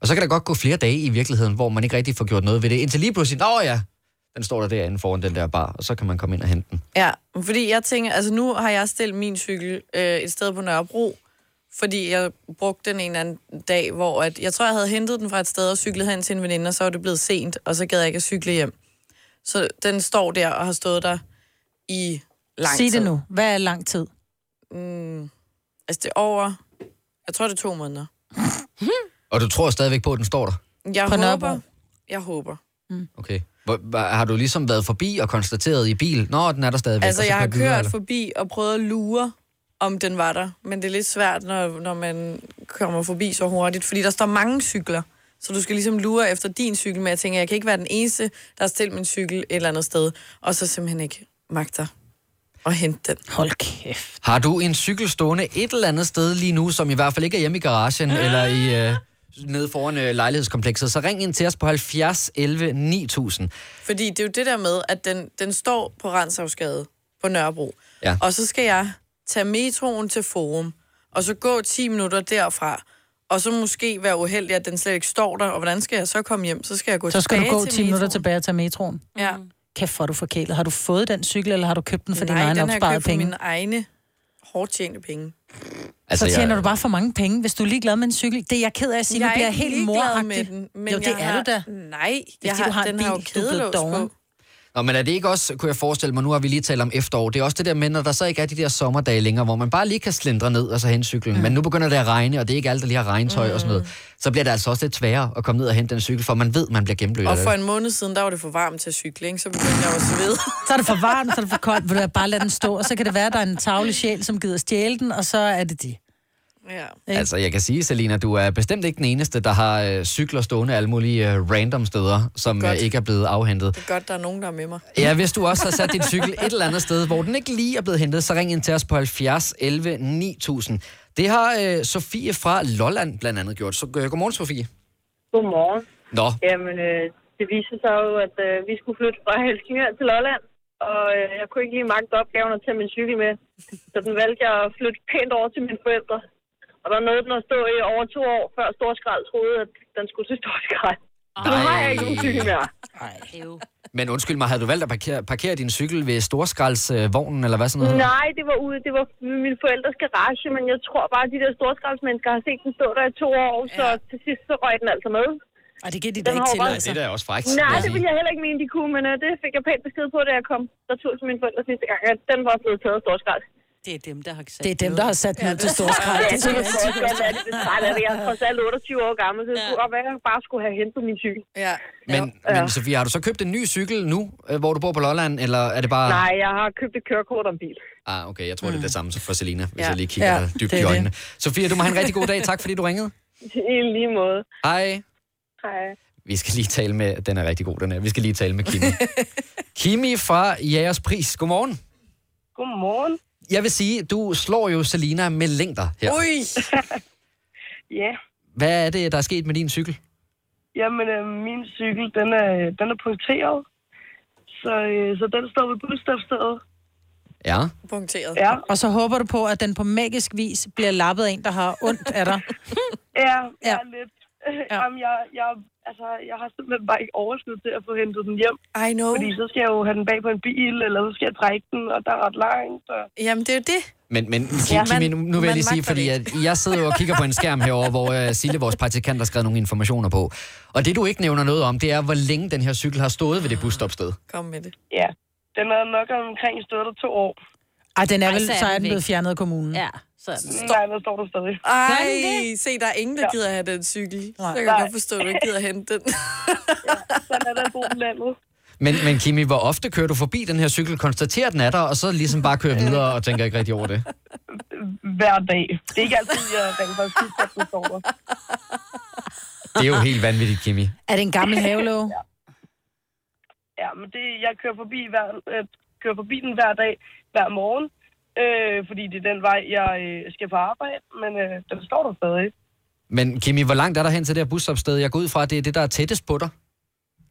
S1: Og så kan der godt gå flere dage i virkeligheden, hvor man ikke rigtig får gjort noget ved det, indtil lige pludselig, åh ja, den står der derinde foran den der bar, og så kan man komme ind og hente den.
S4: Ja, fordi jeg tænker, altså nu har jeg stillet min cykel øh, et sted på Nørrebro, fordi jeg brugte den en eller anden dag, hvor at, jeg tror, jeg havde hentet den fra et sted og cyklet hen til en veninde, og så var det blevet sent, og så gad jeg ikke at cykle hjem. Så den står der og har stået der i lang
S2: Sig
S4: tid.
S2: det nu. Hvad er lang tid?
S4: Mm, altså det er over, jeg tror det er to måneder.
S1: Og du tror stadigvæk på, at den står der?
S4: Jeg
S2: På
S4: håber,
S2: Nørrebro?
S4: jeg håber.
S1: Okay. Hvor, hvor- har du ligesom været forbi og konstateret i bil, nå, den er der stadigvæk?
S4: Altså,
S1: og så
S4: jeg har
S1: kører videre,
S4: kørt
S1: eller?
S4: forbi og prøvet at lure, om den var der. Men det er lidt svært, når, når man kommer forbi så hurtigt, fordi der står mange cykler. Så du skal ligesom lure efter din cykel, men jeg tænker, jeg kan ikke være den eneste, der har stillet min cykel et eller andet sted, og så simpelthen ikke magter at hente den.
S2: Hold kæft.
S1: Har du en cykel stående et eller andet sted lige nu, som i hvert fald ikke er hjemme i garagen
S4: Ah.
S1: eller i øh, nede foran øh, lejlighedskomplekset, så ring ind til os på 70 11 9000.
S4: Fordi det er jo det der med, at den, den står på Renshavsgade på Nørrebro.
S1: Ja.
S4: Og så skal jeg tage metroen til Forum, og så gå 10 minutter derfra, og så måske være uheldig, at den slet ikke står der, og hvordan skal jeg så komme hjem? Så skal jeg gå
S2: Så skal du
S4: tilbage
S2: gå 10
S4: til metroen.
S2: minutter tilbage og tage metroen.
S4: Ja.
S2: Kæft, hvor er du forkælet. Har du fået den cykel, eller har du købt den for dine
S4: Nej,
S2: egne
S4: den har jeg
S2: opsparede
S4: købt for
S2: penge?
S4: mine egne hårdt tjente penge.
S2: Altså, så
S1: jeg-
S2: tjener jeg... du bare for mange penge, hvis du er ligeglad med en cykel. Det er jeg ked af at sige, nu
S4: er
S2: bliver jeg
S4: ikke
S2: helt
S4: ligeglad
S2: moragtig.
S4: med den, men
S2: jo, det
S4: jeg
S2: er
S4: har,
S2: du da.
S4: Nej,
S2: er
S4: jeg
S2: fordi,
S4: har,
S2: du har en
S4: den har jo
S2: bil, du er blevet
S4: kædelås
S2: doven.
S4: på.
S1: Nå, men er det ikke også, kunne jeg forestille mig, nu har vi lige talt om efterår, det er også det der med, når der så ikke er de der sommerdage længere, hvor man bare lige kan slindre ned og så hente cyklen, mm. men nu begynder det at regne, og det er ikke alt, der lige har regntøj mm. og sådan noget, så bliver det altså også lidt sværere at komme ned og hente den cykel, for man ved, man bliver gennemblødt.
S4: Og
S1: af det.
S4: for en måned siden, der var det for varmt til at cykle, ikke? så begyndte jeg jo at svede.
S2: Så er det for varmt, så er det for koldt. Vil du bare lade den stå, og så kan det være, at der er en tavle sjæl, som gider stjæle den, og så er det det.
S4: Ja.
S1: Altså, jeg kan sige, Selina, du er bestemt ikke den eneste, der har øh, cykler stående alle mulige øh, random steder, som øh,
S4: Godt.
S1: ikke er blevet afhentet.
S4: Det er godt, der er nogen, der er med mig.
S1: Ja, hvis du også har sat din cykel et eller andet sted, hvor den ikke lige er blevet hentet, så ring ind til os på 70 11 9000. Det har øh, Sofie fra Lolland blandt andet gjort. Så øh, godmorgen, Sofie.
S16: Godmorgen.
S1: Nå,
S16: Jamen, øh, det viste sig jo, at øh, vi skulle flytte fra Helsingør til Lolland, og øh, jeg kunne ikke lige magte opgaven at tage min cykel med. Så den valgte jeg at flytte pænt over til mine forældre. Og der nåede den at stå i over to år, før Storskrald troede, at den skulle til Storskrald. Så nu har jeg ikke nogen cykel mere.
S1: men undskyld mig, havde du valgt at parkere, parkere din cykel ved Storskraldsvognen, øh, vognen, eller hvad sådan noget?
S16: Nej, det var ude. Det var mine forældres garage, men jeg tror bare, at de der storskraldsmennesker har set den stå der i to år, så til sidst så røg den altså med.
S2: Og det giver de
S1: da ikke til, altså. Nej, det er da også frækt, vil
S16: Nej,
S1: jeg
S16: det
S1: sige.
S16: ville jeg heller ikke mene, de kunne, men uh, det fik jeg pænt besked på, da jeg kom der tur til mine forældre sidste gang, at den var blevet taget af storskrald.
S3: Det er dem, der har sat
S2: Det er dem, der har sat den ud til Storskrald.
S16: Ja,
S2: Det er
S16: det kan
S2: sådan,
S16: godt være, det er lidt træt af det. Jeg er trods alt 28 år gammel, så det skulle godt være, at jeg bare skulle have hentet min cykel.
S4: Ja.
S1: Men, ja. men Sofie, har du så købt en ny cykel nu, øh, hvor du bor på Lolland, eller er det bare...
S16: Nej, jeg har købt et kørekort om bil.
S1: Ah, okay, jeg tror, det er det samme som for Selina, hvis
S16: Ja.
S1: ja. jeg lige kigger
S16: Ja,
S1: ja, dybt
S16: det er
S1: i
S16: det.
S1: øjnene. Sofie, du må have en rigtig god dag. Tak, fordi du ringede.
S16: I lige måde.
S1: Hej.
S16: Hej.
S1: Vi skal lige tale med... Den er rigtig god, den her. Vi skal lige tale med Kimi. Kimi fra Jægers Pris. Godmorgen.
S16: Godmorgen.
S1: Jeg vil sige, du slår jo Selina med længder her.
S16: Ui! ja,
S1: Hvad er det, der er sket med din cykel?
S16: jamen øh, min cykel, den er, den er punkteret. Så, øh, så den står ved budskabsstedet.
S1: Ja.
S4: Punkteret.
S16: Ja.
S2: Og så håber du på, at den på magisk vis bliver lappet af en, der har ondt af dig.
S16: Ja, ja. er lidt. Ja. Jamen, jeg, jeg, altså, jeg har simpelthen bare ikke overskud til at få hentet den hjem.
S4: I know.
S16: Fordi så skal jeg jo have den bag på en bil, eller så skal jeg trække den, og der er ret langt. Og...
S4: Jamen, det er jo det.
S1: Men, men
S2: Ja,
S1: ja, Kimi,
S2: man-
S1: nu, nu vil jeg
S2: man
S1: lige sige,
S2: magter det
S1: fordi
S2: ikke.
S1: jeg, jeg sidder jo og kigger på en skærm herover, hvor uh, Sille, vores praktikant, har skrevet nogle informationer på. Og det, du ikke nævner noget om, det er, hvor længe den her cykel har stået ved det busstopsted.
S4: Kom med det.
S14: Ja, den havde nok omkring stået der to år.
S2: Ej, den er
S14: Ej,
S2: vel,
S14: så er
S2: så er
S14: den
S2: den
S14: væk.
S2: blevet fjernet af kommunen.
S3: Ja, så
S14: Nej, der står der stadig.
S4: Ej, se, der er ingen, der gider have den cykel. Så kan jeg godt forstå, at du ikke gider hente den.
S14: Sådan er der at bo på landet.
S1: Men, men Kimi, hvor ofte kører du forbi den her cykel, konstaterer den er der, og så ligesom bare kører videre og tænker ikke rigtig over det?
S14: Hver dag. Det er ikke altid, jeg rent faktisk synes, at den står der.
S1: Det er jo helt vanvittigt, Kimi.
S2: Er det en gammel havelåge?
S14: ja. ja, men det, jeg kører forbi, hver, øh, kører forbi den hver dag, hver morgen. Øh, fordi det er den vej, jeg øh, skal på arbejde. Men øh, den står der stadig.
S1: Men Kimi, hvor langt er der hen til det her busstopsted? Jeg går ud fra, at det er det, der er tættest på dig.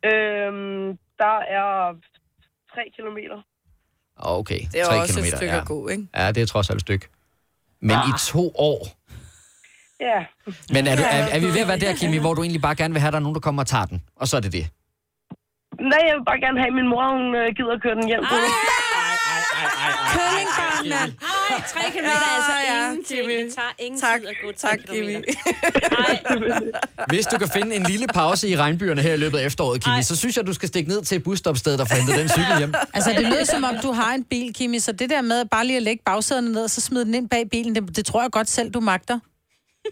S14: Øh, der er tre kilometer.
S1: Åh, Ah, Okay,
S14: Det er
S1: tre
S14: også et
S1: kilometer,
S14: stykke
S1: ja.
S14: at gå, ikke?
S1: Ja, det er trods alt et stykke. Men ah. i to år.
S14: Ja.
S1: Men er, du, er, er vi ved at være der, Kimi, hvor du egentlig bare gerne vil have, at der er nogen, der kommer og tager den? Og så er det det.
S14: Nej, jeg vil bare gerne have, at min mor hun, øh, gider at køre den hjem. Ej,
S2: Køllingbarn, mand.
S3: Ej, tre kilometer er altså
S4: Ja, ja,
S3: ingenting. Det tager ingen tid at gå tre
S4: Tak,
S3: kilometer.
S4: Kimi.
S1: Hvis du kan finde en lille pause i regnbyerne her i løbet af efteråret, Kimi, så synes jeg, du skal stikke ned til busstopstedet og få hentet den cykel hjem.
S2: Altså, det lyder som om, du har en bil, Kimi, så det der med bare lige at lægge bagsæderne ned, og så smide den ind bag bilen, det, det tror jeg godt selv, du magter.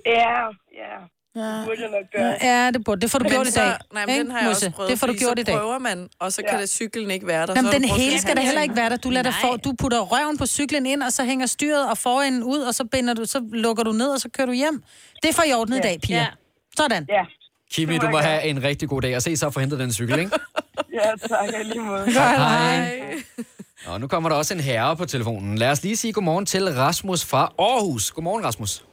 S14: Ja, ja. Det burde jeg nok gøre.
S2: Ja, det burde. Det får du
S4: Men
S2: gjort i
S4: så-
S2: dag.
S4: Nej, men den
S2: ikke,
S4: har jeg også
S2: Musse?
S4: prøvet,
S2: Det får du
S4: fordi
S2: gjort
S4: så
S2: i dag.
S4: prøver man, og så kan det cyklen ikke være der.
S2: Jamen,
S4: så har
S2: den
S4: du brugt
S2: hele
S4: en
S2: skal da
S4: time.
S2: heller ikke være der. Du, lader dig for, du putter røven på cyklen ind, og så hænger styret og forenden ud, og så, binder du, så lukker du ned, og så kører du hjem. Det får jeg ordnet i dag, piger.
S3: Ja.
S2: Sådan.
S14: Ja.
S1: Kimi, du må have en rigtig god dag, og se så at få hentet den cykel, ikke?
S14: Ja, tak i lige måde.
S1: Godt, hej. Og nu kommer der også en herre på telefonen. Lad os lige sige godmorgen til Rasmus fra Aarhus. Godmorgen, Rasmus.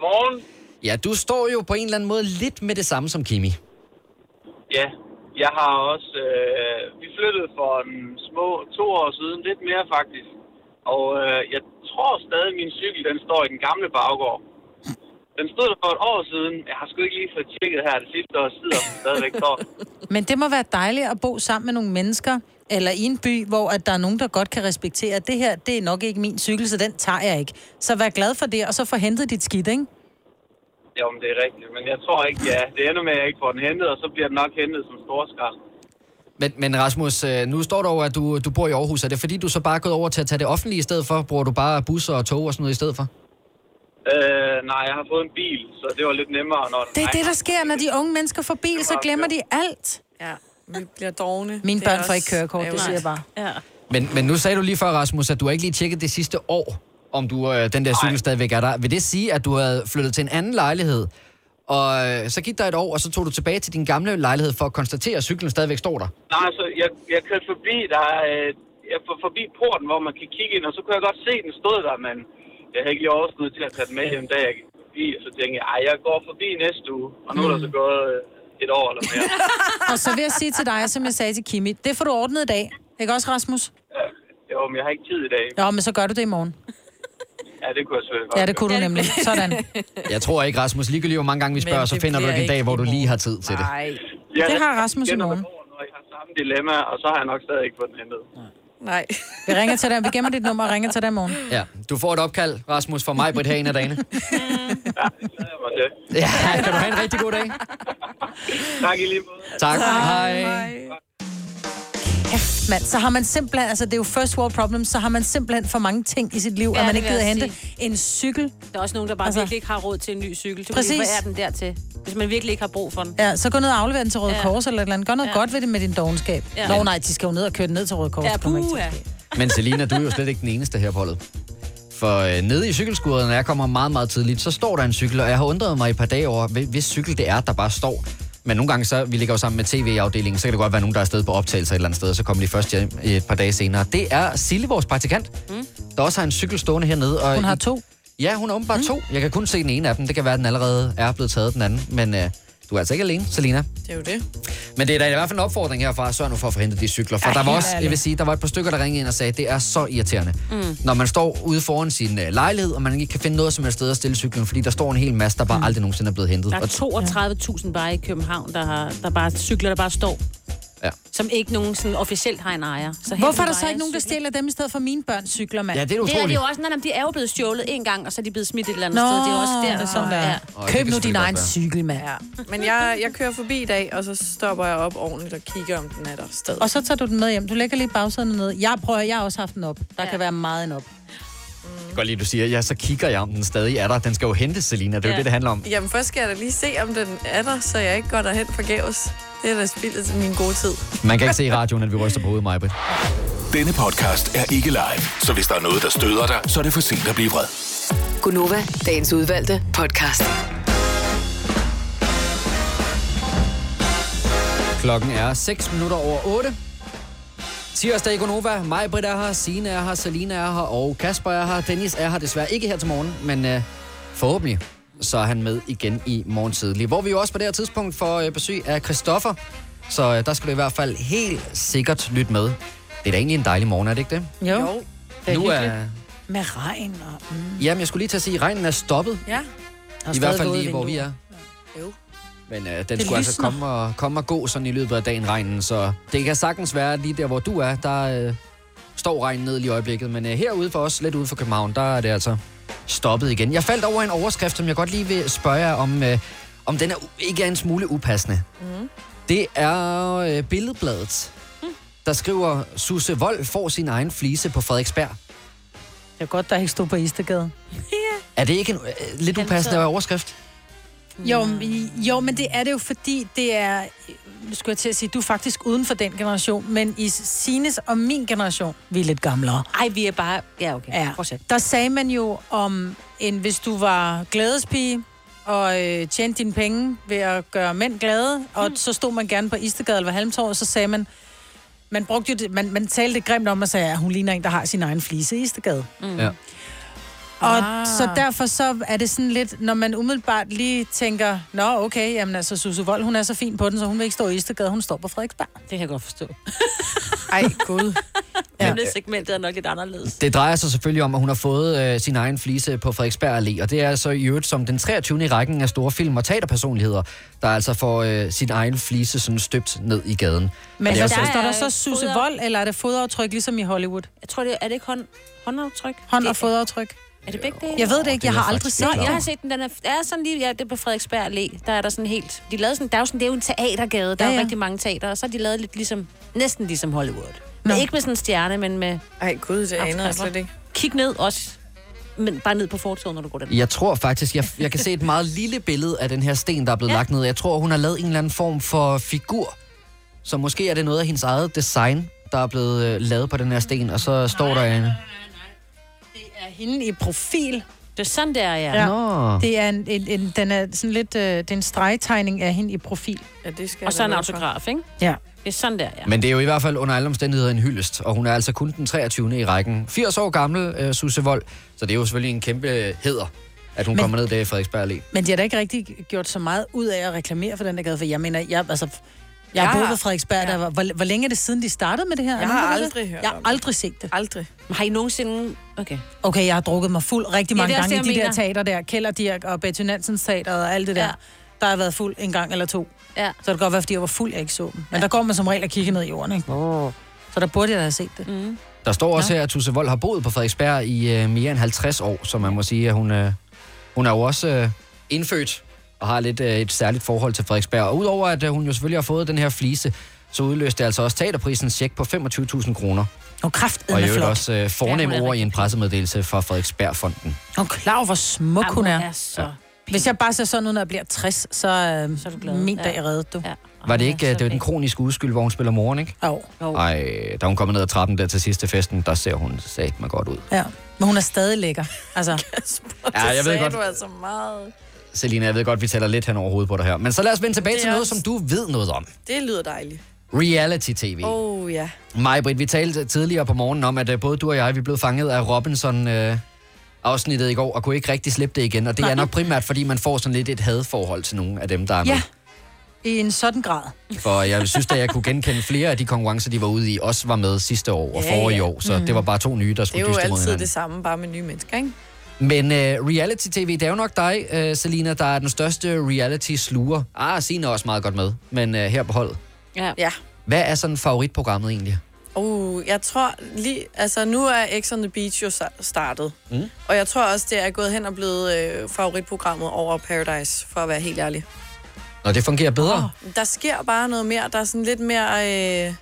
S13: Morgen.
S1: Ja, du står jo på en eller anden måde lidt med det samme som Kimi.
S13: Ja, jeg har også... Øh, vi flyttede for en små to år siden, lidt mere faktisk. Og øh, jeg tror stadig, at min cykel den står i den gamle baggård. Den stod der for et år siden. Jeg har sgu ikke lige fået tjekket her det sidste år, sidder den stadigvæk står.
S2: Men det må være dejligt at bo sammen med nogle mennesker, eller i en by, hvor at der er nogen, der godt kan respektere, at det her, det er nok ikke min cykel, så den tager jeg ikke. Så vær glad for det, og så få hentet dit skidt, ikke?
S13: Jo, men det er rigtigt. Men jeg tror ikke, ja. Det ender med, at jeg ikke får den hentet, og så bliver den nok hentet som storskrald.
S1: Men, men Rasmus, øh, nu står der jo, at du, du bor i Aarhus. Er det fordi, du så bare er gået over til at tage det offentlige i stedet for? Bruger du bare busser og tog og sådan noget i stedet for?
S13: Øh, nej, jeg har fået en bil, så det var lidt nemmere. Når den
S2: Det er det, der
S13: regner.
S2: sker, når de unge mennesker får bil, så glemmer de alt.
S4: Ja, vi bliver dogne.
S2: Mine
S4: Det er
S2: børn får ikke
S4: også
S2: kørekort, det
S4: ærgerligt.
S2: siger jeg bare.
S3: Ja.
S1: Men, men nu sagde du lige før, Rasmus, at du har ikke lige tjekket det sidste år, om du, øh, den der cykel stadigvæk er der. Vil det sige, at du havde flyttet til en anden lejlighed, og øh, så gik der et år, og så tog du tilbage til din gamle lejlighed for at konstatere, at cyklen stadigvæk står der?
S13: Nej, så jeg, jeg kørte forbi, der, er, øh, jeg for, forbi porten, hvor man kan kigge ind, og så kunne jeg godt se, den stod der, men jeg havde ikke lige overskud til at tage den med hjem, da jeg gik forbi, og så tænkte jeg, ej, jeg går forbi næste uge, og nu er der så
S2: Mm.
S13: gået øh, et år eller mere.
S2: Og så vil jeg sige til dig, som jeg sagde til Kimi, det får du ordnet i dag. Ikke også, Rasmus?
S13: jo, men jeg har ikke tid i dag.
S2: Ja, men så gør du det i morgen.
S13: Ja, det kunne jeg selvfølgelig godt.
S2: Ja, det kunne du
S13: gøre.
S2: nemlig. Sådan.
S1: Jeg tror ikke, Rasmus, ligegyldigt hvor mange gange vi
S13: Men
S1: spørger, så
S13: det
S1: finder du
S13: bliver
S1: ikke en dag, hvor du lige har tid til det.
S2: Nej.
S13: Ja,
S2: Det har Rasmus i morgen.
S13: Samme dilemma, og så har jeg nok stadig ikke fået den hentet.
S2: Nej. Vi ringer til dig. Vi gemmer dit nummer og ringer til dig i morgen.
S1: Ja, du får et opkald, Rasmus, fra mig, Britt, her en af dagene. Ja, kan du have en rigtig god dag.
S13: Tak i lige måde.
S1: Tak.
S2: Hej.
S1: Hej.
S2: Kæft, mand. Så har man simpelthen, altså det er jo first world problems, så har man simpelthen for mange ting i sit liv,
S3: Ja,
S2: ja, at man
S3: det
S2: ikke
S3: vil
S2: gider
S3: jeg
S2: hente en cykel.
S3: Der er også nogen, der bare altså, virkelig ikke har råd til en ny cykel. Du
S2: Præcis.
S3: Præcis. Hvad er den dertil? Hvis man virkelig ikke har brug for den.
S2: Ja, så gå ned og aflever den til Røde
S3: Ja.
S2: ja. Kors eller et eller andet. Gør noget
S3: Ja.
S2: ja. godt ved det med din dogenskab.
S3: Ja.
S2: Ja. Nå nej, de skal jo ned og køre den ned til Røde Kors.
S3: Ja,
S2: Det kommer ikke til.
S3: puha.
S1: Men Selina, du er jo slet ikke den eneste her på holdet. For øh, nede i cykelskuret, når jeg kommer meget, meget tidligt, så står der en cykel, og jeg har undret mig i et par dage over, hvil- hvis cykel det er, der bare står. Men nogle gange, så vi ligger jo sammen med tv-afdelingen, så kan det godt være nogen, der er afsted på optagelser et eller andet sted, og så kommer de først hjem et par dage senere. Det er Sille, vores praktikant, mm. der også har en cykel stående hernede. Og
S2: Hun har
S1: i-
S2: to.
S1: Ja, hun har åbenbart mm. to. Jeg kan kun se den ene af dem. Det kan være, at den allerede er blevet taget, den anden. Men øh, du er altså ikke alene, Selina.
S4: Det er jo det.
S1: Men det er da i hvert fald en opfordring herfra, sørg nu for at forhindre de cykler. For
S4: Ej,
S1: der var
S4: helt
S1: også, jeg vil
S4: ærligt.
S1: sige, der var et par stykker, der ringede ind og sagde, det er så irriterende.
S4: Mm.
S1: Mm. Når man står ude foran sin øh, lejlighed, og man ikke kan finde noget som helst sted at stille cyklen, fordi der står en hel masse, der bare mm. aldrig nogensinde er blevet hentet.
S3: Der
S1: Og-
S3: er 32.000 bare i København, der, har, der bare cykler, der bare står.
S1: Ja.
S3: som ikke nogen sådan officielt har en ejer. Så
S2: Hvorfor er der så ikke nogen, der stjæler dem i stedet for mine børns cykler, mand?
S1: Ja, det er
S3: Det er de
S1: utroligt.
S3: jo også, når de er jo blevet stjålet en gang, og så er de blevet smidt et eller andet
S2: Nå,
S3: sted. Det er jo også der,
S2: det er sådan,
S3: der.
S2: der er.
S3: Ja.
S2: Køb det kan nu din selvfølgelig egen godt være. cykel, mand.
S4: Ja. Men jeg, jeg kører forbi i dag, og så stopper jeg op ordentligt og kigger, om den er der stadig.
S2: Og så tager du den med hjem. Du lægger lige bagsæderne ned. Jeg prøver, jeg har også haft den op. Der ja. kan være meget en op.
S1: Godt lige, du siger, ja, så kigger jeg, om den stadig er der. Den skal jo hentes, Selina. Det er jo det, det handler om.
S4: Jamen, først skal jeg da lige se, om den er der, så jeg ikke går derhen forgæves. Det er da spildet til min gode tid.
S1: Man kan ikke se i radioen, at vi ryster på hovedet, Majbrit.
S11: Denne podcast er ikke live, så hvis der er noget, der støder dig, så er det for sent at blive vred.
S15: Gunova, dagens udvalgte podcast.
S1: Klokken er 6 minutter over 8. Tirsdag i Gonova. Mig, Britt er her, Signe er her, Selina er her, og Kasper er her. Dennis er her desværre ikke her til morgen, men øh, forhåbentlig så er han med igen i morgen tidlig. Hvor vi jo også på det her tidspunkt får øh, besøg af Christoffer. Så øh, der skal du i hvert fald helt sikkert lytte med. Det er da egentlig en dejlig morgen, er det ikke det?
S2: Jo. jo. Det er
S1: nu
S2: hyggeligt.
S1: er,
S2: Med regn og... Mm.
S1: Jamen, jeg skulle lige til at sige, at regnen er stoppet.
S4: Ja.
S1: I hvert fald lige, hvor vi er.
S4: Jo.
S1: Men øh, den
S4: Det
S1: det skulle altså
S4: lysner.
S1: komme og, komme og gå sådan i løbet af dagen, regnen. Så det kan sagtens være, at lige der, hvor du er, der øh, står regnen ned lige i øjeblikket. Men øh, herude for os, lidt ude for København, der er det altså stoppet igen. Jeg faldt over en overskrift, som jeg godt lige vil spørge jer om, øh, om den er, u- ikke er en smule upassende.
S4: Mm.
S1: Det er øh, Billedbladet, der skriver, Susse Vold får sin egen flise på Frederiksberg.
S2: Det er godt, der ikke stod på Istegade.
S1: Er det ikke en, øh, lidt upassende overskrift?
S2: Jo,
S3: Mm.
S2: men- jo, men det er det jo, fordi det er... Nu skulle jeg til at sige, du er faktisk uden for den generation, men i Sines og min generation, vi er lidt gamlere.
S3: Ej, vi er bare... Ja, okay.
S2: Ja, der sagde man jo om, en, hvis du var glædespige og øh, tjente dine penge ved at gøre mænd glade, og
S3: Mm.
S2: så stod man gerne på Istegade eller Halmtorv, og så sagde man, man, brugte jo det, man, man talte det grimt om og sagde, at hun ligner en, der har sin egen flise i Istegade.
S1: Mm. Ja.
S2: Og
S17: Ah.
S2: ah. så derfor så er det sådan lidt, når man umiddelbart lige tænker, nå okay, jamen altså Susu Vold, hun er så fin på den, så hun vil ikke stå i Istegade, hun står på Frederiksberg. Det
S3: kan jeg godt forstå.
S2: Ej, gud.
S3: Ja. segmentet er nok lidt anderledes.
S1: Det drejer sig selvfølgelig om, at hun har fået øh, sin egen flise på Frederiksberg Allé, og det er altså i øvrigt som den 23. i rækken af store film- og teaterpersonligheder, der altså får øh, sin egen flise sådan støbt ned i gaden. Og
S2: Men
S1: det er
S2: der,
S1: altså-
S2: står der så Susse Vold, eller er det fodaftryk ligesom i Hollywood?
S3: Jeg tror, det er det ikke hånd, håndaftryk?
S2: Hånd- og fodaftryk.
S3: Er det begge dele?
S2: Jeg ved det ikke, jeg har aldrig set
S3: Nå,
S2: den.
S3: jeg har set den. Den er, er sådan lige, ja, det er på Frederiksberg Allé. Der er der sådan helt... De lavede sådan, der er jo sådan, det er jo en teatergade. Der ja,
S2: Ja,
S3: ja. er jo
S2: ja.
S3: rigtig mange teater, og så har de lavet lidt ligesom, næsten ligesom Hollywood. Men ikke med sådan en stjerne, men med...
S4: Ej gud, det anede jeg slet ikke.
S3: Kig ned også, men bare ned på fortovet, når du går den.
S1: Jeg tror faktisk, jeg, jeg kan se et meget lille billede af den her sten, der er blevet ja. lagt ned. Jeg tror, hun har lavet en eller anden form for figur, så måske er det noget af hendes eget design, der er blevet øh, lavet på den her sten, og så står der en...
S2: Det er hende i profil.
S3: Det er sådan, det er, ja.
S1: Nå.
S2: Det er en, en, en, den er sådan lidt, øh, det er en tegning af hende i profil.
S4: Ja, det skal
S3: Og så en autograf, ikke?
S2: Ja.
S3: Det er sådan der, ja.
S1: Men det er jo i hvert fald under alle omstændigheder en hyldest, og hun er altså kun den 23. i rækken. 80 år gammel, øh, Susse Vold, så det er jo selvfølgelig en kæmpe øh, heder, at hun
S2: Men-
S1: Men... kommer ned der i Frederiksberg Allé.
S2: Men de har da ikke rigtig gjort så meget ud af at reklamere for den der gade, for jeg mener, jeg, altså, jeg
S4: Jeg
S2: har boet
S4: har-
S2: ved Frederiksberg, der var, hvor, hvor længe er det siden, de startede med det her? Er
S4: Jeg
S2: nogen,
S4: har
S2: der ved
S4: aldrig
S2: det?
S4: hørt
S2: Jeg har
S4: om det.
S2: aldrig set det.
S4: Aldrig.
S3: Har I nogensinde... Okay.
S2: Okay, jeg har drukket mig fuld rigtig
S3: Ja,
S2: mange
S3: det
S2: ja,
S3: er også
S2: gange i
S3: det,
S2: de
S3: jeg
S2: der teater der. Kælderdirk og Betty Nansens teater og alt det der. Ja. Der har jeg været fuld en gang eller to.
S3: Ja.
S2: Så det kan godt være, fordi jeg var fuld, jeg ikke så dem. Men ja. der går man som regel og kigger ned i jorden, ikke? Oh. Så der burde jeg da have set det.
S3: Mm.
S1: Der står også her, at Tusse Vold har boet på Frederiksberg i øh, mere end 50 år, så man må sige, at hun, øh, hun er jo også øh, indfødt og har lidt øh, et særligt forhold til Frederiksberg. Og udover at øh, hun jo selvfølgelig har fået den her flise, så udløste det altså også teaterprisens check på 25.000 kroner.
S2: Og kraften
S1: Og i
S2: er
S1: øvrigt
S2: flot.
S1: også øh, fornemme
S2: Ja, hun er
S1: ord i en pressemeddelelse fra Frederiksbergfonden.
S2: Og klar over, hvor smuk
S3: Ej,
S2: hun
S3: hun
S2: er.
S3: er så
S2: Hvis jeg bare ser sådan ud, når jeg bliver 60, så, øh, så er min dag er reddet, du. Ja.
S1: Var det ikke øh, det var den kroniske udskyld, hvor hun spiller morgen, ikke?
S2: Jo.
S1: Ej, da hun kommer ned ad trappen der til sidste festen, der ser hun sat mig godt ud.
S2: ja. Men hun er stadig lækker. Altså.
S1: Ja, jeg ved
S4: sagde
S1: godt,
S4: du altså meget.
S1: Selina, jeg ved godt, vi taler lidt hen over hovedet på dig her. Men så lad os vende tilbage
S4: Det
S1: til
S4: er
S1: noget,
S4: også-
S1: som du ved noget om.
S4: Det lyder dejligt.
S1: Reality-tv.
S4: Åh, oh, ja.
S1: Maj Britt, vi talte tidligere på morgenen om, at øh, både du og jeg, vi blev fanget af Robinson... Øh, afsnittet i går, og kunne ikke rigtig slippe det igen. Og det er nok primært, fordi man får sådan lidt et hadforhold til nogle af dem, der er med.
S2: Ja, i en sådan grad.
S1: For jeg synes da, jeg kunne genkende flere af de konkurrencer, de var ude i, også var med sidste år og
S4: Ja,
S1: forrige
S4: ja.
S1: år. Så
S4: Mm.
S1: det var bare to nye, der
S4: Det er
S1: skulle
S4: jo
S1: dyste mod
S4: altid
S1: hinanden.
S4: det samme, bare med nye mennesker, ikke?
S1: Men uh, reality-tv, det er jo nok dig, uh, Selina, der er den største reality-sluger. Ah, Signe er også meget godt med, men uh, her øh, på holdet.
S3: Ja.
S4: ja.
S1: Hvad er sådan favoritprogrammet egentlig?
S4: Uh, jeg tror lige... Altså, nu er X on the Beach jo sa- startet.
S1: Mm.
S4: Og jeg tror også, det er gået hen og blevet øh, favoritprogrammet over Paradise, for at være helt ærlig.
S1: Når det fungerer bedre?
S4: Der sker bare noget mere. Der er sådan lidt mere øh,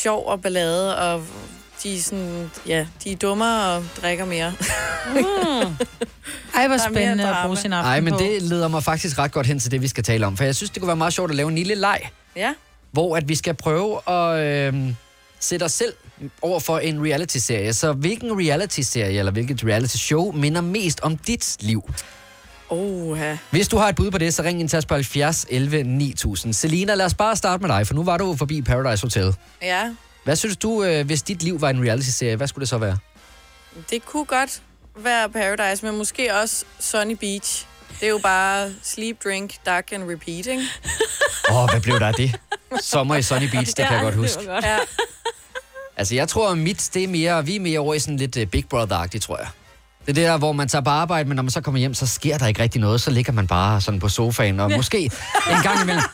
S4: sjov og ballade, og de er sådan, ja, de er dummere og drikker mere.
S2: Mm. Ej, hvor
S4: Der er mere
S2: spændende at
S4: drama.
S2: bruge sin aften
S1: Nej, men
S2: på.
S1: det leder mig faktisk ret godt hen til det, vi skal tale om. For jeg synes, det kunne være meget sjovt at lave en lille leg,
S4: Ja.
S1: hvor at vi skal prøve at øh, sætte os selv over for en reality-serie. Så hvilken reality-serie eller hvilket reality-show minder mest om dit liv?
S4: Oha.
S1: Hvis du har et bud på det, så ring ind til os på 70 11 9000. Selina, lad os bare starte med dig, for nu var du forbi Paradise Hotel.
S4: Ja,
S1: Hvad synes du, øh, hvis dit liv var en reality-serie, hvad skulle det så være?
S4: det kunne godt være Paradise, men måske også Sunny Beach. Det er jo bare sleep, drink, duck and repeat, ikke?
S1: Åh, oh, hvad blev der af det? Sommer i Sunny Beach, det kan jeg godt huske.
S4: Godt. Ja.
S1: Altså, jeg tror, at mit, det er mere, vi er mere over i sådan lidt øh, Big Brother-agtigt, tror jeg. Det er det der, hvor man tager på arbejde, men når man så kommer hjem, så sker der ikke rigtig noget. Så ligger man bare sådan på sofaen, og måske en gang imellem...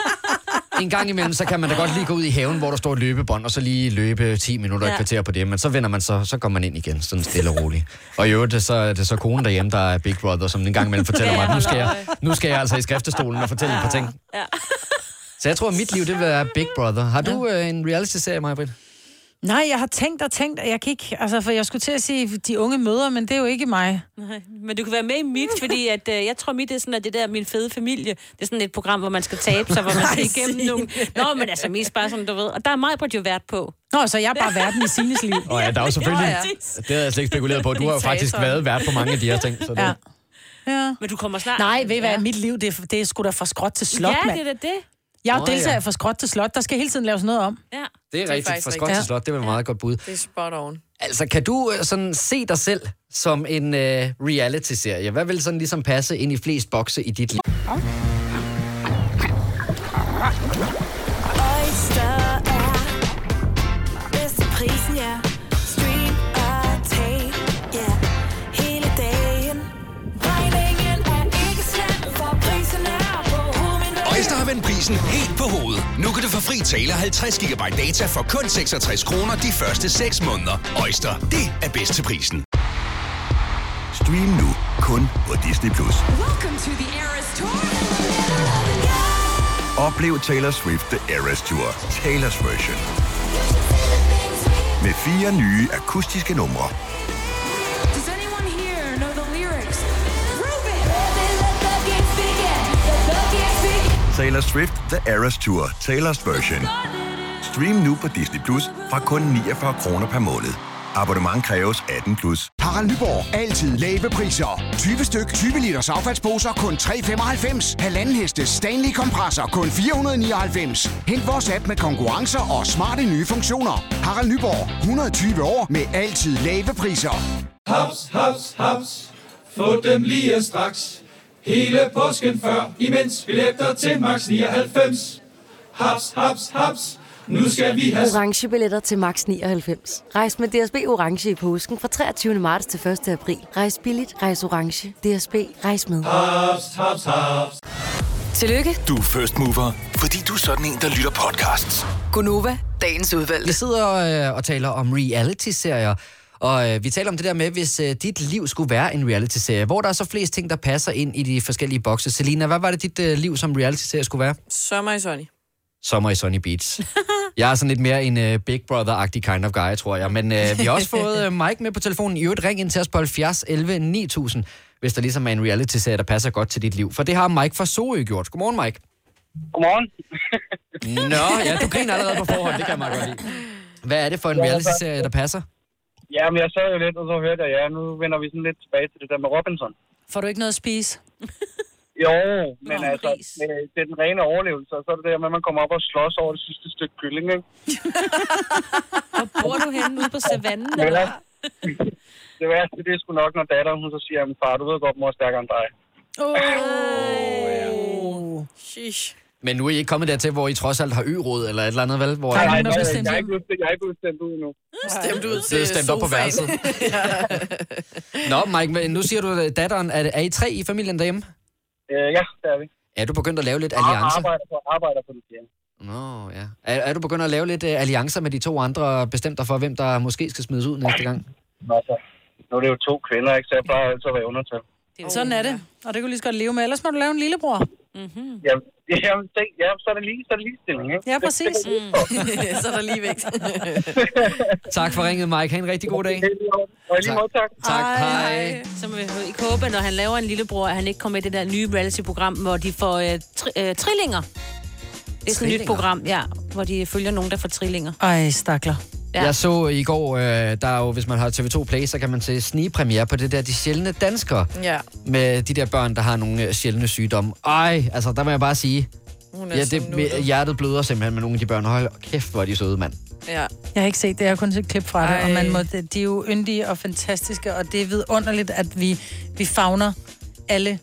S1: En gang imellem, så kan man da godt lige gå ud i haven, hvor der står et løbebånd, og så lige løbe 10 minutter ja.
S17: Ja.
S1: et kvarter på det. Men så vender man så, så går man ind igen, sådan stille og roligt. Og i øvrigt, så er det så konen derhjemme, der er Big Brother, som en gang imellem fortæller
S17: Ja,
S1: mig, at nu skal,
S17: hold
S1: jeg, nu skal jeg altså i skriftestolen og fortælle et par ting. Så jeg tror, at mit liv, det vil være Big Brother. Har du øh, en reality-serie, Maja
S2: Nej, jeg har tænkt og tænkt, og jeg kan ikke... Altså, for jeg skulle til at sige, de unge møder, men det er jo ikke mig.
S3: Nej, men du kan være med i mit, fordi at, øh, jeg tror, mit er sådan, at det der Min Fede Familie, det er sådan et program, hvor man skal tabe sig, hvor man skal
S2: Ej,
S3: igennem nogle... Nå, men altså mest bare sådan, du ved. Og der er mig på jo vært på.
S2: Nå, så jeg er bare verden i Signes liv.
S1: Og ja, der er jo selvfølgelig...
S3: Ja,
S1: Det havde jeg slet ikke spekuleret på. Du har jo faktisk været vært på mange af de her ting. Så det.
S2: Ja. Ja.
S3: Men du kommer snart...
S2: Nej, ved I hvad, mit liv, det er, det er sgu da fra skråt til slot,
S3: Ja,
S2: mand.
S3: det er da det.
S2: Jeg er
S1: Nå,
S2: jo
S1: ja.
S2: deltager ja. fra skråt til slot. Der skal hele tiden laves noget om.
S3: Ja.
S1: Det er rigtigt.
S2: faktisk
S1: Fra skot til
S2: rigtigt.
S1: slot, det var et meget godt bud.
S4: Det er spot on.
S1: Altså, kan du øh, sådan se dig selv som en øh, reality-serie? Hvad vil sådan ligesom passe ind i flest bokse i dit liv?
S17: Oyster er bedst til prisen, ja. Stream og tag, ja. Hele dagen. Regningen er ikke slem, for prisen er på hovedet.
S18: Øjster har vendt prisen helt på hovedet. Nu kan du få fri tale og 50 GB data for kun 66 kroner de første 6 måneder. Øjster, det er bedst til prisen.
S19: Stream nu kun på Disney+. Plus.
S17: Welcome to the Eras Tour.
S19: Oplev Taylor Swift The Eras Tour, Taylor's version. Med fire nye akustiske numre.
S17: Does anyone here know the lyrics?
S19: Taylor Swift The Eras Tour, Taylor's version. Stream nu på Disney Plus fra kun 49 kroner per måned. Abonnement kræves 18 plus.
S20: Harald Nyborg. Altid lave priser. 20 styk, 20 liters affaldsposer kun 3,95. Halvanden heste Stanley kompresser kun 499. Hent vores app med konkurrencer og smarte nye funktioner. Harald Nyborg. 120 år med altid lave priser.
S8: Haps, haps, haps. Få dem lige straks. Hele påsken før, imens billetter til max 99. Haps, haps, haps. Nu skal vi have...
S9: Orange billetter til max 99. Rejs med DSB Orange i påsken fra 23. marts til 1. april. Rejs billigt, rejs orange. DSB, rejs med.
S8: Haps, haps, haps.
S15: Tillykke,
S11: Du er first mover, fordi du er sådan en, der lytter podcasts.
S15: Gunova, dagens udvalgte.
S1: Vi sidder øh, og taler om reality-serier, og øh, vi taler om det der med, hvis øh, dit liv skulle være en reality-serie, hvor der er så flest ting, der passer ind i de forskellige bokse. Selina, hvad var det dit øh, liv som reality-serie skulle være?
S4: Sommer i Sunny.
S1: Sommer i Sunny Beach. Jeg er sådan lidt mere en uh, Big Brother-agtig kind of guy, tror jeg. Men uh, vi har også fået uh, Mike med på telefonen. I øvrigt, ring ind til os på 70 11 9000, hvis der ligesom er en reality-serie, der passer godt til dit liv. For det har Mike fra Sorø gjort. Godmorgen, Mike.
S21: Godmorgen.
S1: Nå, ja, du griner allerede på forhånd. Det kan jeg meget godt lide. Hvad er det for en reality-serie, der passer?
S21: Ja, men jeg sad jo lidt, og så hørte jeg, ja, nu vender vi sådan lidt tilbage til det der med Robinson.
S2: Får du ikke noget at spise?
S21: Jo, men Nå, altså, det, det er den rene overlevelse, og så er det der med, at man kommer op og slås over det sidste stykke kylling, ikke?
S3: Hvor bor du henne ude på savannen?
S21: Men
S3: eller?
S21: ellers, det værste, det er sgu nok, når datteren, hun så siger, at far, du ved godt, mor er stærkere end dig.
S2: Oh.
S4: Sheesh.
S1: Men nu er I ikke kommet dertil, hvor I trods alt har ø-råd eller et eller andet, vel? Hvor
S21: Nej, nej, nej, jeg er ikke udstemt, jeg er ikke udstemt ud endnu.
S4: Stemt ud
S1: Det er stemt op på værelset. Nå, Mike, men nu siger du, at datteren, er, er I tre i familien derhjemme?
S21: Øh, ja, det er vi.
S1: Er du begyndt at lave lidt
S21: Og
S1: alliancer?
S21: Arbejder på, arbejder på det fjerde.
S1: Nå, ja. Er, er du begyndt at lave lidt uh, alliancer med de to andre, og bestemt dig for, hvem der måske skal smides ud næste gang?
S21: Nå, så. Nu er det jo to kvinder, ikke? Så jeg plejer altid at være undertal.
S2: Sådan
S3: Oh,
S2: er det. Og det kan du lige så godt leve med. Ellers må du lave en lillebror.
S3: Mhm.
S21: Mm. Jamen, jamen, se, jamen, så er det lige, så er det ligestilling, ikke?
S2: Ja, præcis.
S21: Det, det,
S2: Mm.
S4: så er der lige vægt.
S1: Tak for ringet, Mike. Ha' en rigtig god dag.
S21: Og lige måde, tak.
S1: Tak. Hej.
S3: Så må vi ikke håbe, at når han laver en lillebror, at han ikke kommer med i det der nye reality-program, hvor de får øh, tri- øh, trillinger. Det er sådan et nyt
S2: Trillinger?
S3: program, ja, hvor de følger nogen, der får trillinger.
S2: Ej, stakler.
S1: Ja. Jeg så i går, øh, der er jo, hvis man har TV2 Play, så kan man se snigpremiere på det der De Sjældne Danskere.
S4: Ja.
S1: Med de der børn, der har nogle øh, sjældne sygdomme. Ej, altså der må jeg bare sige,
S4: Hun er
S1: ja,
S4: sådan
S1: det,
S4: nuttet.
S1: hjertet bløder simpelthen med nogle af de børn. Hold kæft, hvor er de søde, mand.
S4: Ja.
S2: Jeg har ikke set det, jeg har kun set et klip fra det,
S4: Ej.
S2: og man må, de de er jo yndige og fantastiske, og det er vidunderligt, at vi, vi fagner alle.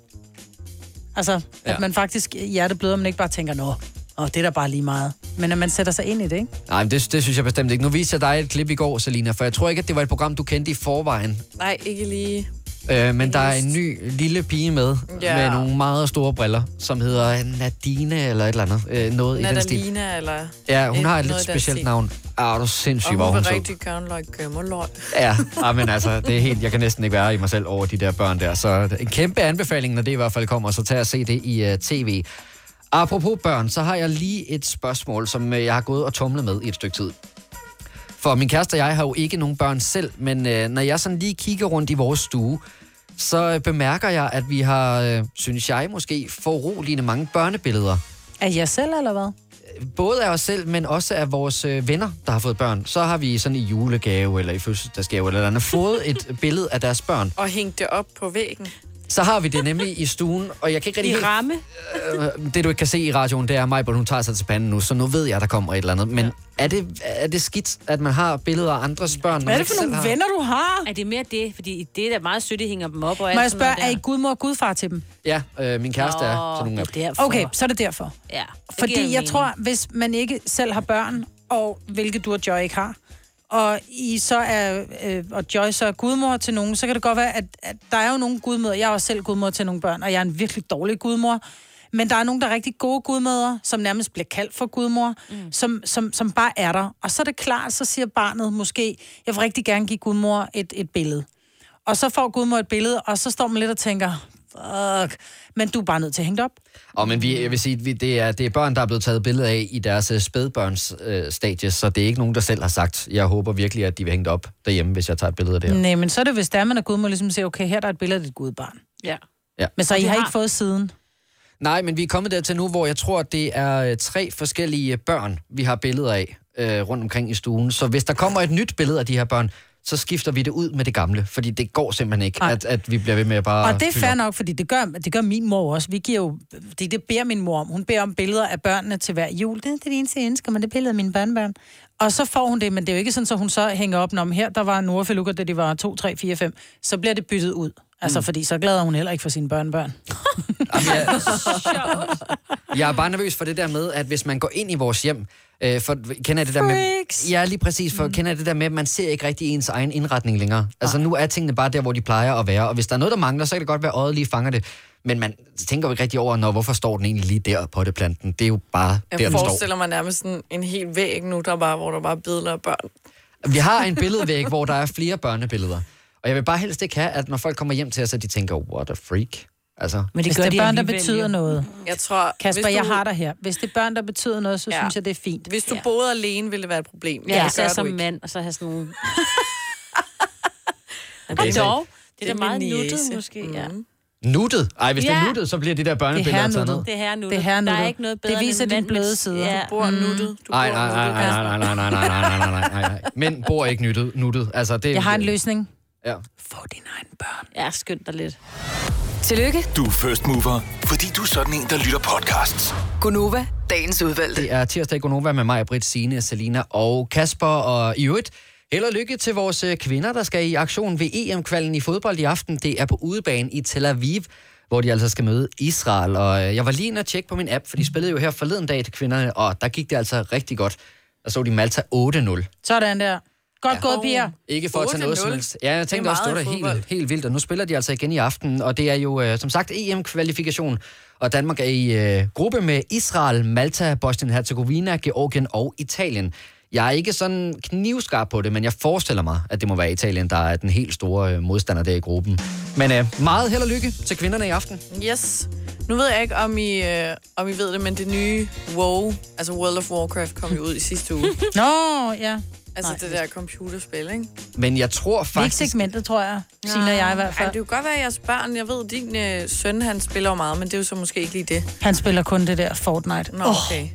S2: Altså, ja.
S1: Ja.
S2: at man faktisk hjertebløder, men ikke bare tænker, nå, og det er da bare lige meget. Men at man sætter sig ind i det, ikke?
S1: Nej, men det, det synes jeg bestemt ikke. Nu viste jeg dig et klip i går, Selina, for jeg tror ikke, at det var et program, du kendte i forvejen.
S4: Nej, ikke lige.
S1: Øh, men der er en ny lille pige med,
S4: Ja.
S1: ja. med nogle meget store briller, som hedder Nadine eller et eller andet. Øh, noget i den stil.
S4: Nadalina, eller...
S1: Ja, hun
S4: et-
S1: har et lidt
S4: Øh, noget i den
S1: specielt
S4: stil.
S1: navn. Ah, du er sindssyg,
S4: Og
S1: hvor
S4: hun
S1: hun
S4: vil
S1: så.
S4: rigtig gerne like øh, gemmerløg.
S1: Ja, ah, men altså, det er helt, jeg kan næsten ikke være i mig selv over de der børn der. Så en kæmpe anbefaling, når det i hvert fald kommer, så tag og se det i uh, tv. Apropos børn, så har jeg lige et spørgsmål, som uh, jeg har gået og tumlet med i et stykke tid. For min kæreste og jeg har jo ikke nogen børn selv, men øh, når jeg sådan lige kigger rundt i vores stue, så øh, bemærker jeg, at vi har, øh, synes jeg måske, foruroligende mange børnebilleder.
S2: Af jer selv, eller hvad?
S1: Både af os selv, men også af vores øh, venner, der har fået børn. Så har vi sådan i julegave eller i fødselsdagsgave eller et eller andet, fået et billede af deres børn.
S4: Og hænge det op på væggen.
S1: Så har vi det nemlig i stuen, og jeg kan ikke rigtig...
S4: I
S1: helt-
S4: ramme?
S1: Øh, det du ikke kan se i radioen, det er mig, hun tager sig til panden nu, så nu ved jeg, der kommer et eller andet. Men ja. er, det, er det skidt, at man har billeder af andres børn? når man ikke selv har?
S2: du har?
S3: Er det mere det? Fordi det er da meget sødt, at I hænger dem op. Og alt
S2: Må jeg
S3: sådan noget
S2: spørge, er I gudmor og gudfar til dem?
S1: Ja, øh, min kæreste
S2: Nå,
S1: er sådan nogle af dem.
S2: Okay, så er det derfor.
S3: der. Ja, det
S2: Fordi
S3: giver
S2: jeg
S3: mening.
S2: tror, hvis man ikke selv har børn, og hvilket du og Joy ikke har, og I så er, øh, og Joy så er gudmor til nogen, så kan det godt være, at, at der er jo nogle gudmødre. Jeg er også selv gudmor til nogle børn, og jeg er en virkelig dårlig gudmor. Men der er nogen, der er rigtig gode gudmødre, som nærmest bliver kaldt for gudmor, mm. som, som, som bare er der. Og så er det klart, så siger barnet måske, jeg vil rigtig gerne give gudmor et, et billede. Og så får gudmor et billede, og så står man lidt og tænker, fuck, men du er bare nødt til at hænge det op.
S1: Og men vi, jeg vil sige, vi- det er, det er børn, der er blevet taget billeder af i deres øh, spædbørns øh, stadie, så det er ikke nogen, der selv har sagt, jeg håber virkelig, at de vil hænge det op derhjemme, hvis jeg tager et billede af det her.
S2: Nej, men så er det, hvis der er, man er gudmor, ligesom siger, okay, her er der et billede af dit gudbarn.
S3: Ja.
S1: Ja.
S2: Mm. Men så
S1: Og
S2: I
S1: de
S2: har,
S1: har-
S2: ikke fået siden.
S1: Nej, men vi er kommet dertil nu, hvor jeg tror, at det er øh, tre forskellige børn, vi har billeder af øh, rundt omkring i stuen. Så hvis der kommer et nyt billede af de her børn, så skifter vi det ud med det gamle, fordi det går simpelthen ikke, at, at vi bliver ved med at bare...
S2: Og det er
S1: fylde
S2: fair
S1: op.
S2: nok, fordi det gør, det gør min mor også. Vi giver jo, det, det beder min mor om. Hun beder om billeder af børnene til hver jul. Det er det eneste, jeg ønsker, men det er billeder af mine børnebørn. Og så får hun det, men det er jo ikke sådan, så hun så hænger op, om her der var Nordfelukker, da de var 2, 3, 4, 5. Så bliver det byttet ud. Altså, mm. fordi så glæder hun heller ikke for sine børnebørn.
S1: Jeg er bare nervøs for det der med, at hvis man går ind i vores hjem, øh, for kender jeg det der med... Ja, lige præcis, for kender jeg det der med, at man ser ikke rigtig ens egen indretning længere. Altså nu er tingene bare der, hvor de plejer at være, og hvis der er noget, der mangler, så kan det godt være, at øjet lige fanger det. Men man tænker jo ikke rigtig over, når hvorfor står den egentlig lige der på det planten? Det er jo bare
S4: Jeg
S1: der, den står.
S4: forestiller mig nærmest sådan en hel væg nu, der bare, hvor der bare er billeder af børn.
S1: Vi har en billedvæg, hvor der er flere børnebilleder. Og jeg vil bare helst ikke have, at når folk kommer hjem til os, at de tænker, what a freak. Altså,
S3: Men
S2: Hvis det er børn, der betyder noget.
S4: Jeg tror...
S2: Kasper,
S4: hvis
S2: du...
S4: du-
S2: jeg har dig her. Hvis det er børn, der betyder noget, så ja. synes jeg, det er fint.
S4: Hvis du ja. boede alene, ville det være et problem.
S3: Ja, især som mand, og så have sådan nogle...
S4: Men
S3: Og
S1: det er-
S3: dog, det er da
S4: min
S3: meget nuttet
S4: niece.
S3: måske, ja.
S1: nuttet. Ej, hvis ja. det
S3: Ja.
S1: er nuttet, så bliver det der Mm. børnebilleder taget ned.
S3: Det er her nuttet.
S2: Det er herrenuttet.
S3: Der er ikke noget bedre
S2: Det viser
S3: end en
S2: din
S3: mand med-
S2: bløde side.
S3: Ja.
S2: Du bor
S3: Mm.
S2: nuttet.
S1: Ej, nej, nej, nej, nej, nej, nej, nej, nej, nej, nej, nej, nej. Mænd bor ikke nyttet, nuttet. Altså, det,
S2: Jeg har en løsning.
S1: Ja.
S3: Ja, skynd dig lidt.
S15: Tillykke,
S11: Du er first mover, fordi du er sådan en, der lytter podcasts.
S15: Gunova, dagens udvalgte.
S1: Det er tirsdag i Gonova med mig, Britt, Signe, Selina og Kasper. Og i øvrigt, held og lykke til vores øh, kvinder, der skal i aktion ved EM-kvalden i fodbold i aften. Det er på udebane i Tel Aviv, hvor de altså skal møde Israel. Og øh, jeg var lige inde og tjekke på min app, for de spillede jo her forleden dag til kvinderne, og der gik det altså rigtig godt. Der så de Malta 8-0.
S2: Sådan der. Godt gået, piger.
S1: Ikke for at tage noget som helst. Ja, jeg tænkte også, det var da helt, helt vildt, og nu spiller de altså igen i aften, og det er jo øh, som sagt EM-kvalifikation, og Danmark er i øh, gruppe med Israel, Malta, Bosnien-Herzegovina, Georgien og Italien. Jeg er ikke sådan knivskarp på det, men jeg forestiller mig, at det må være Italien, der er den helt store øh, modstander der i gruppen. Men øh, meget held og lykke til kvinderne i aften.
S4: Yes. Nu ved jeg ikke, om I, øh, om I ved det, men det nye WoW, altså World of Warcraft, kom jo ud i sidste uge.
S2: Nå, ja.
S4: Altså Nej, det der computerspil, ikke?
S1: Men jeg tror
S2: Det er ikke
S1: faktisk...
S2: segmentet, tror jeg. Signe og jeg i hvert fald.
S4: Ej, det kan godt være, at jeres børn, jeg ved, din øh, søn, han spiller jo meget, men det er jo så måske ikke lige det.
S2: Han spiller kun det der Fortnite.
S4: Nå,
S2: Åh.
S4: okay.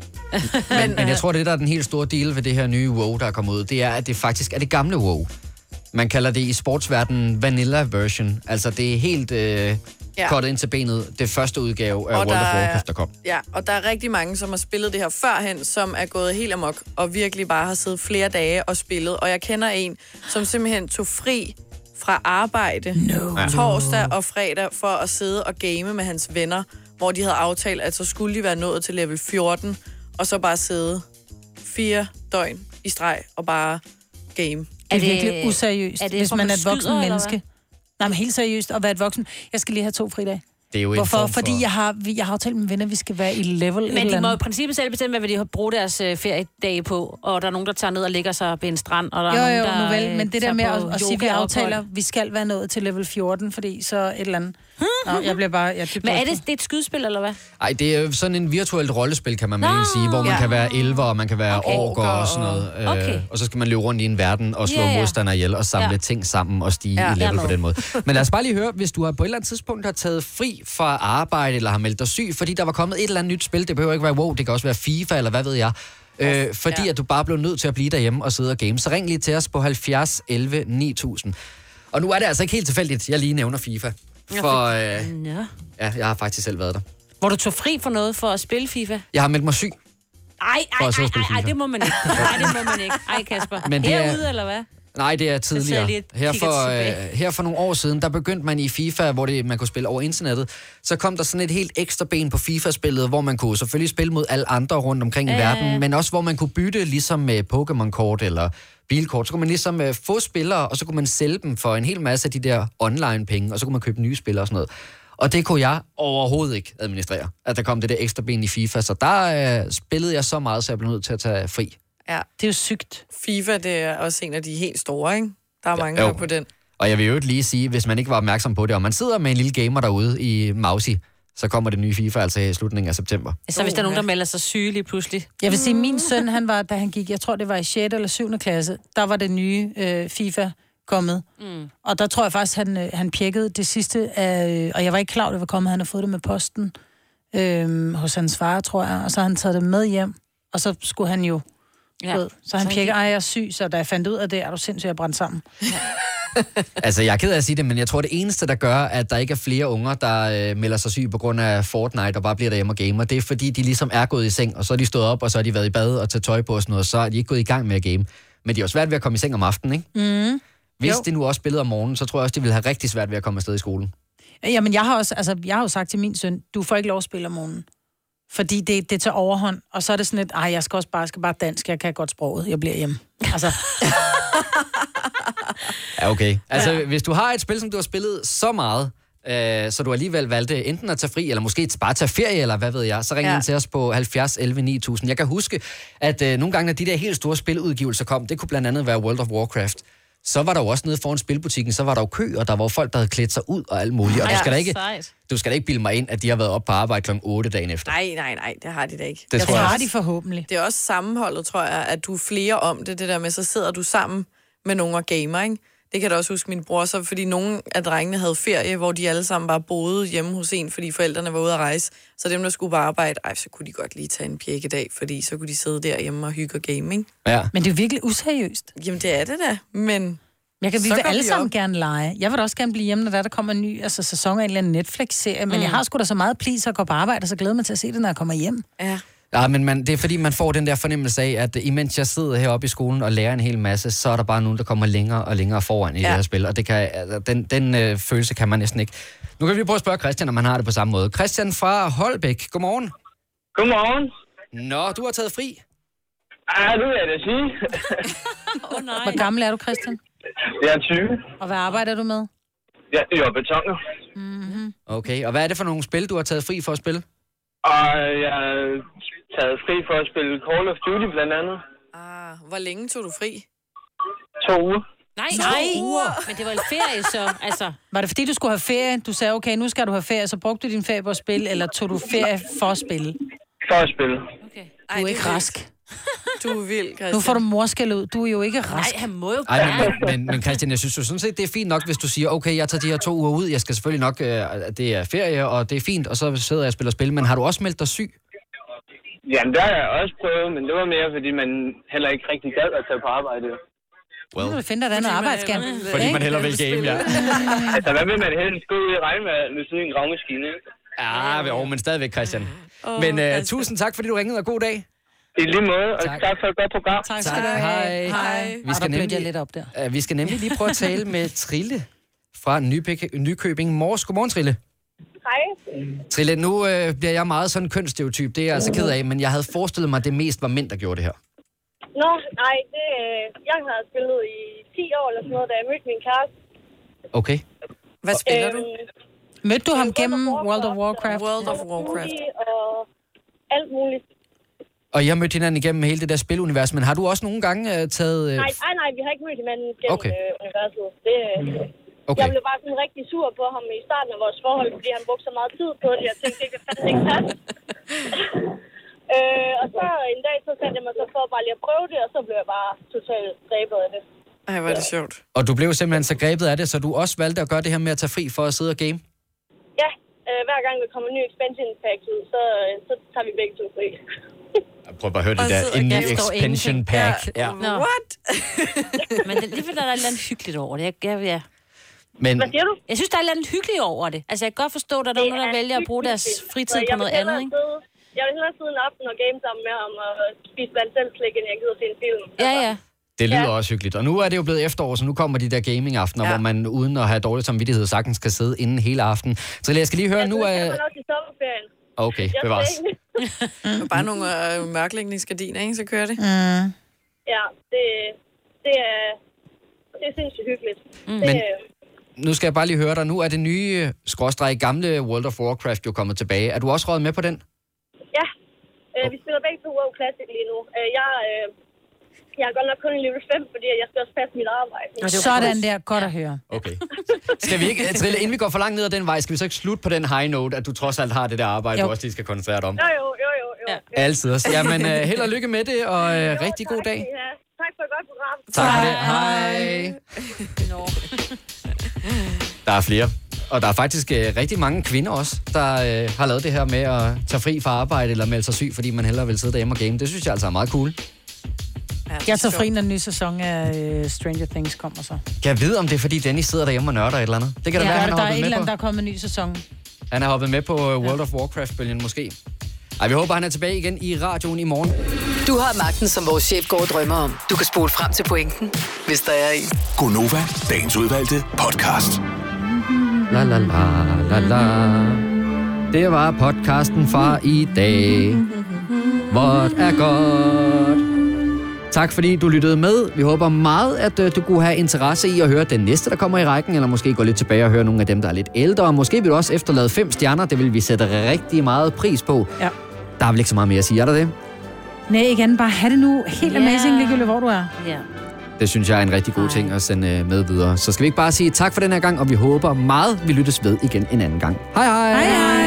S1: Men, men jeg
S2: øh,
S1: tror, det der er den helt store deal ved det her nye WoW, der er kommet ud, det er, at det faktisk er det gamle WoW. Man kalder det i sportsverdenen vanilla version. Altså, det er helt øh,
S4: Ja.
S1: kottet ind til benet. Det første udgave af
S4: Og
S1: World
S4: der
S1: of
S4: er-
S1: Warcraft, der kom.
S4: Ja, og der er rigtig mange, som har spillet det her førhen, som er gået helt amok og virkelig bare har siddet flere dage og spillet. Og jeg kender en, som simpelthen tog fri fra arbejde
S2: no.
S1: Ja.
S4: torsdag og fredag for at sidde og game med hans venner, hvor de havde aftalt, at så skulle de være nået til level 14, og så bare sidde fire døgn i streg og bare game.
S2: Det er virkelig useriøst,
S4: er det,
S2: hvis
S4: hvor
S2: man
S4: man
S2: er et voksen
S4: skyder, eller hvad?
S2: menneske. Nej, men helt seriøst, at være et voksen. Jeg skal lige have to fridage.
S1: Det er jo en
S2: Hvorfor?
S1: form for-
S2: Fordi jeg har, vi- jeg har aftalt med mine venner, at vi skal være i level et
S3: Men
S2: eller
S3: de må i
S2: andet.
S3: princippet selv bestemme, hvad de har brugt deres øh, feriedage på. Og der er nogen, der tager ned og ligger sig ved en strand. Og der
S2: Jo,
S3: er nogen,
S2: jo,
S3: der,
S2: nu vel,
S3: øh,
S2: men det der
S3: tager
S2: med
S3: på
S2: at, at sige, at vi
S3: yogaophold.
S2: aftaler, vi skal være nået til level 14, fordi så et eller andet. Nå, jeg bliver bare... Jeg er dybt
S3: Hvad Hm? er
S2: rystet.
S3: det? Det er et skydespil, eller hvad?
S1: Ej, det er sådan en virtuelt rollespil, kan man vel sige, hvor man
S3: ja.
S1: kan være elver, og man kan være okay. orker og sådan noget. Øh,
S3: Okay.
S1: Og så skal man løbe rundt i en verden og slå
S3: Ja, ja.
S1: modstandere ihjel og samle
S3: Ja.
S1: ting sammen og stige
S3: Ja.
S1: ja. i
S3: Jeg er
S1: level på
S3: med.
S1: den måde. Men lad os bare lige høre, hvis du har på et eller andet tidspunkt har taget fri fra arbejde, eller har meldt dig syg, fordi der var kommet et eller andet nyt spil, det behøver ikke være WoW, det kan også være FIFA, eller hvad ved jeg, øh, fordi ja. at du bare blev nødt til at blive derhjemme og sidde og game. Så ring lige til os på 70 11 9000. Og nu er det altså ikke helt tilfældigt, jeg lige nævner FIFA. For øh,
S3: Ja.
S1: ja, jeg har faktisk selv været der.
S3: Hvor du tog fri for noget for at spille FIFA?
S1: Jeg har meldt mig syg.
S3: Ej,
S1: For
S3: ej,
S1: at sidde og
S3: ej,
S1: spille
S3: ej, ej,
S1: FIFA.
S3: det må man ikke. Nej, det må man ikke. Ej, Kasper.
S1: Men
S3: Men
S1: det
S3: det
S1: er-
S3: Herude, eller hvad?
S1: Nej, det er
S3: sad
S1: tidligere.
S3: lige og
S1: her,
S3: kiggede
S1: for,
S3: tilbage.
S1: øh, her for nogle år siden, der begyndte man i FIFA, hvor det, man kunne spille over internettet. Så kom der sådan et helt ekstra ben på FIFA-spillet, hvor man kunne selvfølgelig spille mod alle andre rundt omkring i
S18: Ja, ja, ja.
S1: verden, men også hvor man kunne bytte ligesom med Pokémon-kort eller bilkort. Så kunne man ligesom øh, få spillere, og så kunne man sælge dem for en hel masse af de der online-penge, og så kunne man købe nye spillere og sådan noget. Og det kunne jeg overhovedet ikke administrere, at der kom det der ekstra ben i FIFA. Så der øh, spillede jeg så meget, så jeg blev nødt til at tage fri.
S4: Ja.
S2: Det er jo sygt.
S4: FIFA, det er også en af de helt store, ikke? Der er ja, mange,
S1: jo.
S4: der er på den.
S1: Og jeg vil jo lige sige, hvis man ikke var opmærksom på det, og man sidder med en lille gamer derude i Mausi, så kommer det nye FIFA altså i slutningen af september.
S3: Så hvis der er nogen, der melder sig syge lige pludselig.
S2: Jeg vil sige, min søn, han var, da han gik, jeg tror det var i 6. eller 7. klasse, der var det nye øh, FIFA kommet. Mm. Og der tror jeg faktisk, han, øh, han pjekkede det sidste af, øh, og jeg var ikke klar, over, det var kommet, han har fået det med posten øh, hos hans far, tror jeg, og så har han taget det med hjem, og så skulle han jo
S3: Ja.
S2: ja. ved, så han
S3: Så han
S2: pjekkede,
S3: gik-
S2: ej, jeg er syg, så da jeg fandt ud af det, er du sindssygt, jeg brændte sammen.
S1: Altså, jeg er ked af at sige det, men jeg tror, det eneste, der gør, at der ikke er flere unger, der øh, melder sig syge på grund af Fortnite og bare bliver derhjemme og gamer, det er, fordi de ligesom er gået i seng, og så er de stået op, og så har de været i bad og taget tøj på og sådan noget, og så er de ikke gået i gang med at game. Men de har jo svært ved at komme i seng om aftenen, ikke?
S2: Mm.
S1: Hvis
S2: Jo.
S1: de nu også spillede om morgenen, så tror jeg også, de ville have rigtig svært ved at komme afsted i skolen.
S2: Jamen, jeg har, også, altså, jeg har jo sagt til min søn, du får ikke lov at spille om morgenen. Fordi det, det tager overhånd, og så er det sådan et, ej, jeg skal også bare, jeg skal bare dansk, jeg kan godt sproget, jeg bliver hjemme. Altså,
S1: Ja, okay. Altså, ja. hvis du har et spil, som du har spillet så meget, øh, så du alligevel valgte enten at tage fri, eller måske bare tage ferie, eller hvad ved jeg, så ring ja.
S18: Ja.
S1: ind til os på 70 11 9000. Jeg kan huske, at øh, nogle gange, når de der helt store spiludgivelser kom, det kunne blandt andet være World of Warcraft, så var der jo også nede foran spilbutikken, så var der jo kø, og der var jo folk, der havde klædt sig ud og alt muligt. Og du
S4: Ja,
S1: skal da ikke,
S4: sejt.
S1: du skal da ikke bilde mig ind, at de har været op på arbejde kl. 8 dagen efter.
S4: Nej, nej, nej, det har de da ikke.
S1: Det tror jeg også.
S2: forhåbentlig.
S4: Det er også sammenholdet, tror jeg, at du er flere om det, det der med, så sidder du sammen med nogle og gamer, ikke? Det kan jeg da også huske min bror så, fordi nogle af drengene havde ferie, hvor de alle sammen bare boede hjemme hos en, fordi forældrene var ude at rejse. Så dem, der skulle på arbejde, ej, så kunne de godt lige tage en pjekkedag, fordi så kunne de sidde derhjemme og hygge og game, ikke?
S1: Ja.
S2: Men det er jo virkelig useriøst.
S4: Jamen, det er det da, men...
S2: Jeg kan, vi
S4: så
S2: vil
S4: går
S2: alle
S4: vi
S2: sammen
S4: op.
S2: gerne lege. Jeg vil da også gerne blive hjemme, når der, er- der kommer en ny altså, sæson af en eller anden Netflix-serie, men
S4: Mm.
S2: mm. jeg har sgu da så meget please at gå på arbejde, og så glæder jeg mig til at se det, når jeg kommer hjem.
S4: Ja.
S1: Ja, men man, det er fordi, man får den der fornemmelse af, at imens jeg sidder heroppe i skolen og lærer en hel masse, så er der bare nogen, der kommer længere og længere foran i ja.
S18: Ja.
S1: det her spil. Og det kan, altså, den, den øh, følelse kan man næsten ikke. Nu kan vi lige prøve at spørge Christian, om han har det på samme måde. Christian fra Holbæk, godmorgen.
S6: Godmorgen.
S1: Nå, du har taget fri.
S13: Ah, nu vil jeg da sige.
S3: oh, nej.
S2: Hvor gammel er du, Christian?
S13: Jeg er 20.
S2: Og hvad arbejder du med?
S13: Ja, jeg er betoner.
S1: Okay, og hvad er det for nogle spil, du har taget fri for at spille?
S13: Og jeg er taget fri for at spille Call of Duty blandt andet.
S4: Ah, hvor længe tog du fri?
S13: To uger.
S3: Nej,
S2: To
S3: nej.
S2: uger.
S3: Men det var en ferie, så altså...
S2: Var det fordi, du skulle have ferie? Du sagde, okay, nu skal du have ferie, så brugte du din ferie på at spille, eller tog du ferie for at spille?
S13: For at spille.
S2: Du er ikke rask.
S4: Du er vild, Christian.
S2: Nu får du morskæld ud. Du er jo ikke rask. Nej,
S3: han må jo
S1: Ej, men, men, men Christian, jeg synes jo sådan set, det er fint nok, hvis du siger, okay, jeg tager de her to uger ud, jeg skal selvfølgelig nok, øh, det er ferie, og det er fint, og så sidder jeg og spiller spil, men har du også meldt dig syg?
S13: Jamen, der har jeg også prøvet, men det var mere, fordi man heller ikke rigtig gad at tage på arbejde.
S2: Nu må du finde dig et andet arbejde, skal
S1: Fordi man hellere vil game, ja.
S13: altså, hvad vil man helst gå ud i regnvejr ved siden af en gravmaskine? ikke?
S1: Ja, jo, men stadigvæk, Christian. Men øh, tusind tak, fordi du ringede, og god dag.
S13: I lige måde, og tak, tak for et godt program.
S2: Tak
S1: skal du have. Hej.
S2: Vi skal nemlig... jeg lidt op der.
S1: Uh, vi skal nemlig lige prøve at tale med Trille fra Nypik- Nykøbing Mors. Godmorgen, Trille.
S6: Hej.
S1: Trille, nu øh, bliver jeg meget sådan kønsstereotyp, det er jeg altså ked af, men jeg havde forestillet mig, at det mest var mænd, der gjorde det her.
S6: Nå, nej, det, øh, jeg har spillet i 10 år eller sådan noget, da jeg mødte min kæreste. Øhm,
S1: Okay.
S4: Hvad spiller du?
S2: Mødte du ham gennem World of Warcraft?
S4: World of Warcraft.
S6: Og alt muligt.
S1: Og jeg mødte hinanden igennem hele det der spilunivers, men har du også nogle gange øh, taget... Øh,
S6: Nej, nej, nej, vi har ikke mødt hinanden gennem
S1: Okay.
S6: okay. øh, universet. Det, øh,
S1: Okay.
S6: Jeg blev bare sådan rigtig sur på ham i starten af vores forhold, fordi han brugte så meget tid på det. Jeg tænkte, det kan fandme ikke passe. øh, og så en dag, så satte jeg mig så for bare lige at prøve det, og så blev jeg bare totalt grebet af det.
S4: Ej, hvor er det sjovt.
S1: og du blev simpelthen så grebet af det, så du også valgte at gøre det her med at tage fri for at sidde og game?
S6: Ja, øh, hver gang der kommer en ny expansion pack ud, så, øh, så tager vi begge to fri.
S1: Prøv bare at høre
S6: Og
S1: det der,
S6: sidder
S1: en ny
S6: og gamer.
S1: expansion pack. Ja.
S3: What? men alligevel er der et eller andet hyggeligt over det. Jeg, jeg, jeg...
S1: Men,
S6: siger du?
S3: Jeg synes, der er et eller andet hyggeligt over det. Altså, jeg kan godt forstå, at der er nogen, der vælger at bruge deres fritid på noget andet, ikke?
S6: Jeg vil hellere sidde en aften og game sammen med ham og spise blandt selv slik, end jeg gider se en film. Altså,
S3: Ja, ja.
S1: Det lyder ja. også hyggeligt. Og nu er det jo blevet efterår, så nu kommer de der gaming-aftener, ja. hvor man uden at have dårlig samvittighed sagtens kan sidde inden hele aftenen. Så jeg skal lige høre, nu
S6: Jeg
S1: er...
S6: var også i sommerferien.
S1: Okay,
S6: Jeg
S1: bevares.
S6: sagde-
S4: Og bare nogle øh, mørklægningsgardiner, ikke? Så kører det.
S2: Mm.
S6: Ja, det, det er... Det er sindssygt hyggeligt. Mm. Det,
S1: Men-
S6: øh,
S1: Nu skal jeg bare lige høre dig. Nu er det nye, skråstreg gamle World of Warcraft jo kommet tilbage. Er du også røget med på den?
S6: ja, øh, vi spiller begge to WoW Classic lige nu. Øh, jeg, øh, jeg er godt nok kun i level 5, fordi jeg skal også passe mit arbejde.
S2: Sådan der, godt at høre.
S1: Okay. Skal vi ikke, Trille, inden vi går for langt ned ad den vej, skal vi så ikke slutte på den high note, at du trods alt har det der arbejde, jo.
S6: Jo.
S1: du også lige skal koncentrere dig om?
S6: Jo, jo, jo, jo. jo. Ja.
S1: Altid. også. Jamen, uh, held og lykke med det, og uh, rigtig god dag.
S6: Ja, tak for et godt program.
S1: Tak for det. Hej. Der er flere. Og der er faktisk øh, rigtig mange kvinder også, der øh, har lavet det her med at tage fri fra arbejde eller melde sig syg, fordi man hellere vil sidde derhjemme og game. Det synes jeg altså er meget cool.
S2: Jeg tager fri, når den nye sæson af øh, Stranger Things kommer så.
S1: Kan jeg vide, om det er, fordi Dennis sidder derhjemme og nørder et eller andet? Det kan da
S2: ja,
S1: være, han
S2: der
S1: har
S2: er et
S1: hoppet
S2: eller
S1: med på.
S2: andet, der er kommet en ny sæson.
S1: Han har hoppet med på øh, World of Warcraft-bølgen måske. Ej, vi håber, han er tilbage igen i radioen i morgen.
S15: Du har magten, som vores chef går og drømmer om. Du kan spole frem til pointen, hvis der er en.
S11: Gonova, dagens udvalgte podcast.
S1: La la la la la. Det var podcasten fra i dag. Hvor er godt. Tak fordi du lyttede med. Vi håber meget, at øh, du kunne have interesse i at høre den næste, der kommer i rækken, eller måske gå lidt tilbage og høre nogle af dem, der er lidt ældre. Og måske vil du også efterlade fem stjerner. Det vil vi sætte rigtig meget pris på.
S2: Ja.
S1: Der er vel ikke så meget mere at sige, er der det?
S2: Nej, igen, bare have det nu. Helt
S3: Ja.
S2: amazing, ligegyldigt hvor du er.
S3: Ja.
S1: Det synes jeg er en rigtig god ting at sende øh, med videre. Så skal vi ikke bare sige tak for den her gang, og vi håber meget, vi lyttes ved igen en anden gang. Hej hej! hej, hej.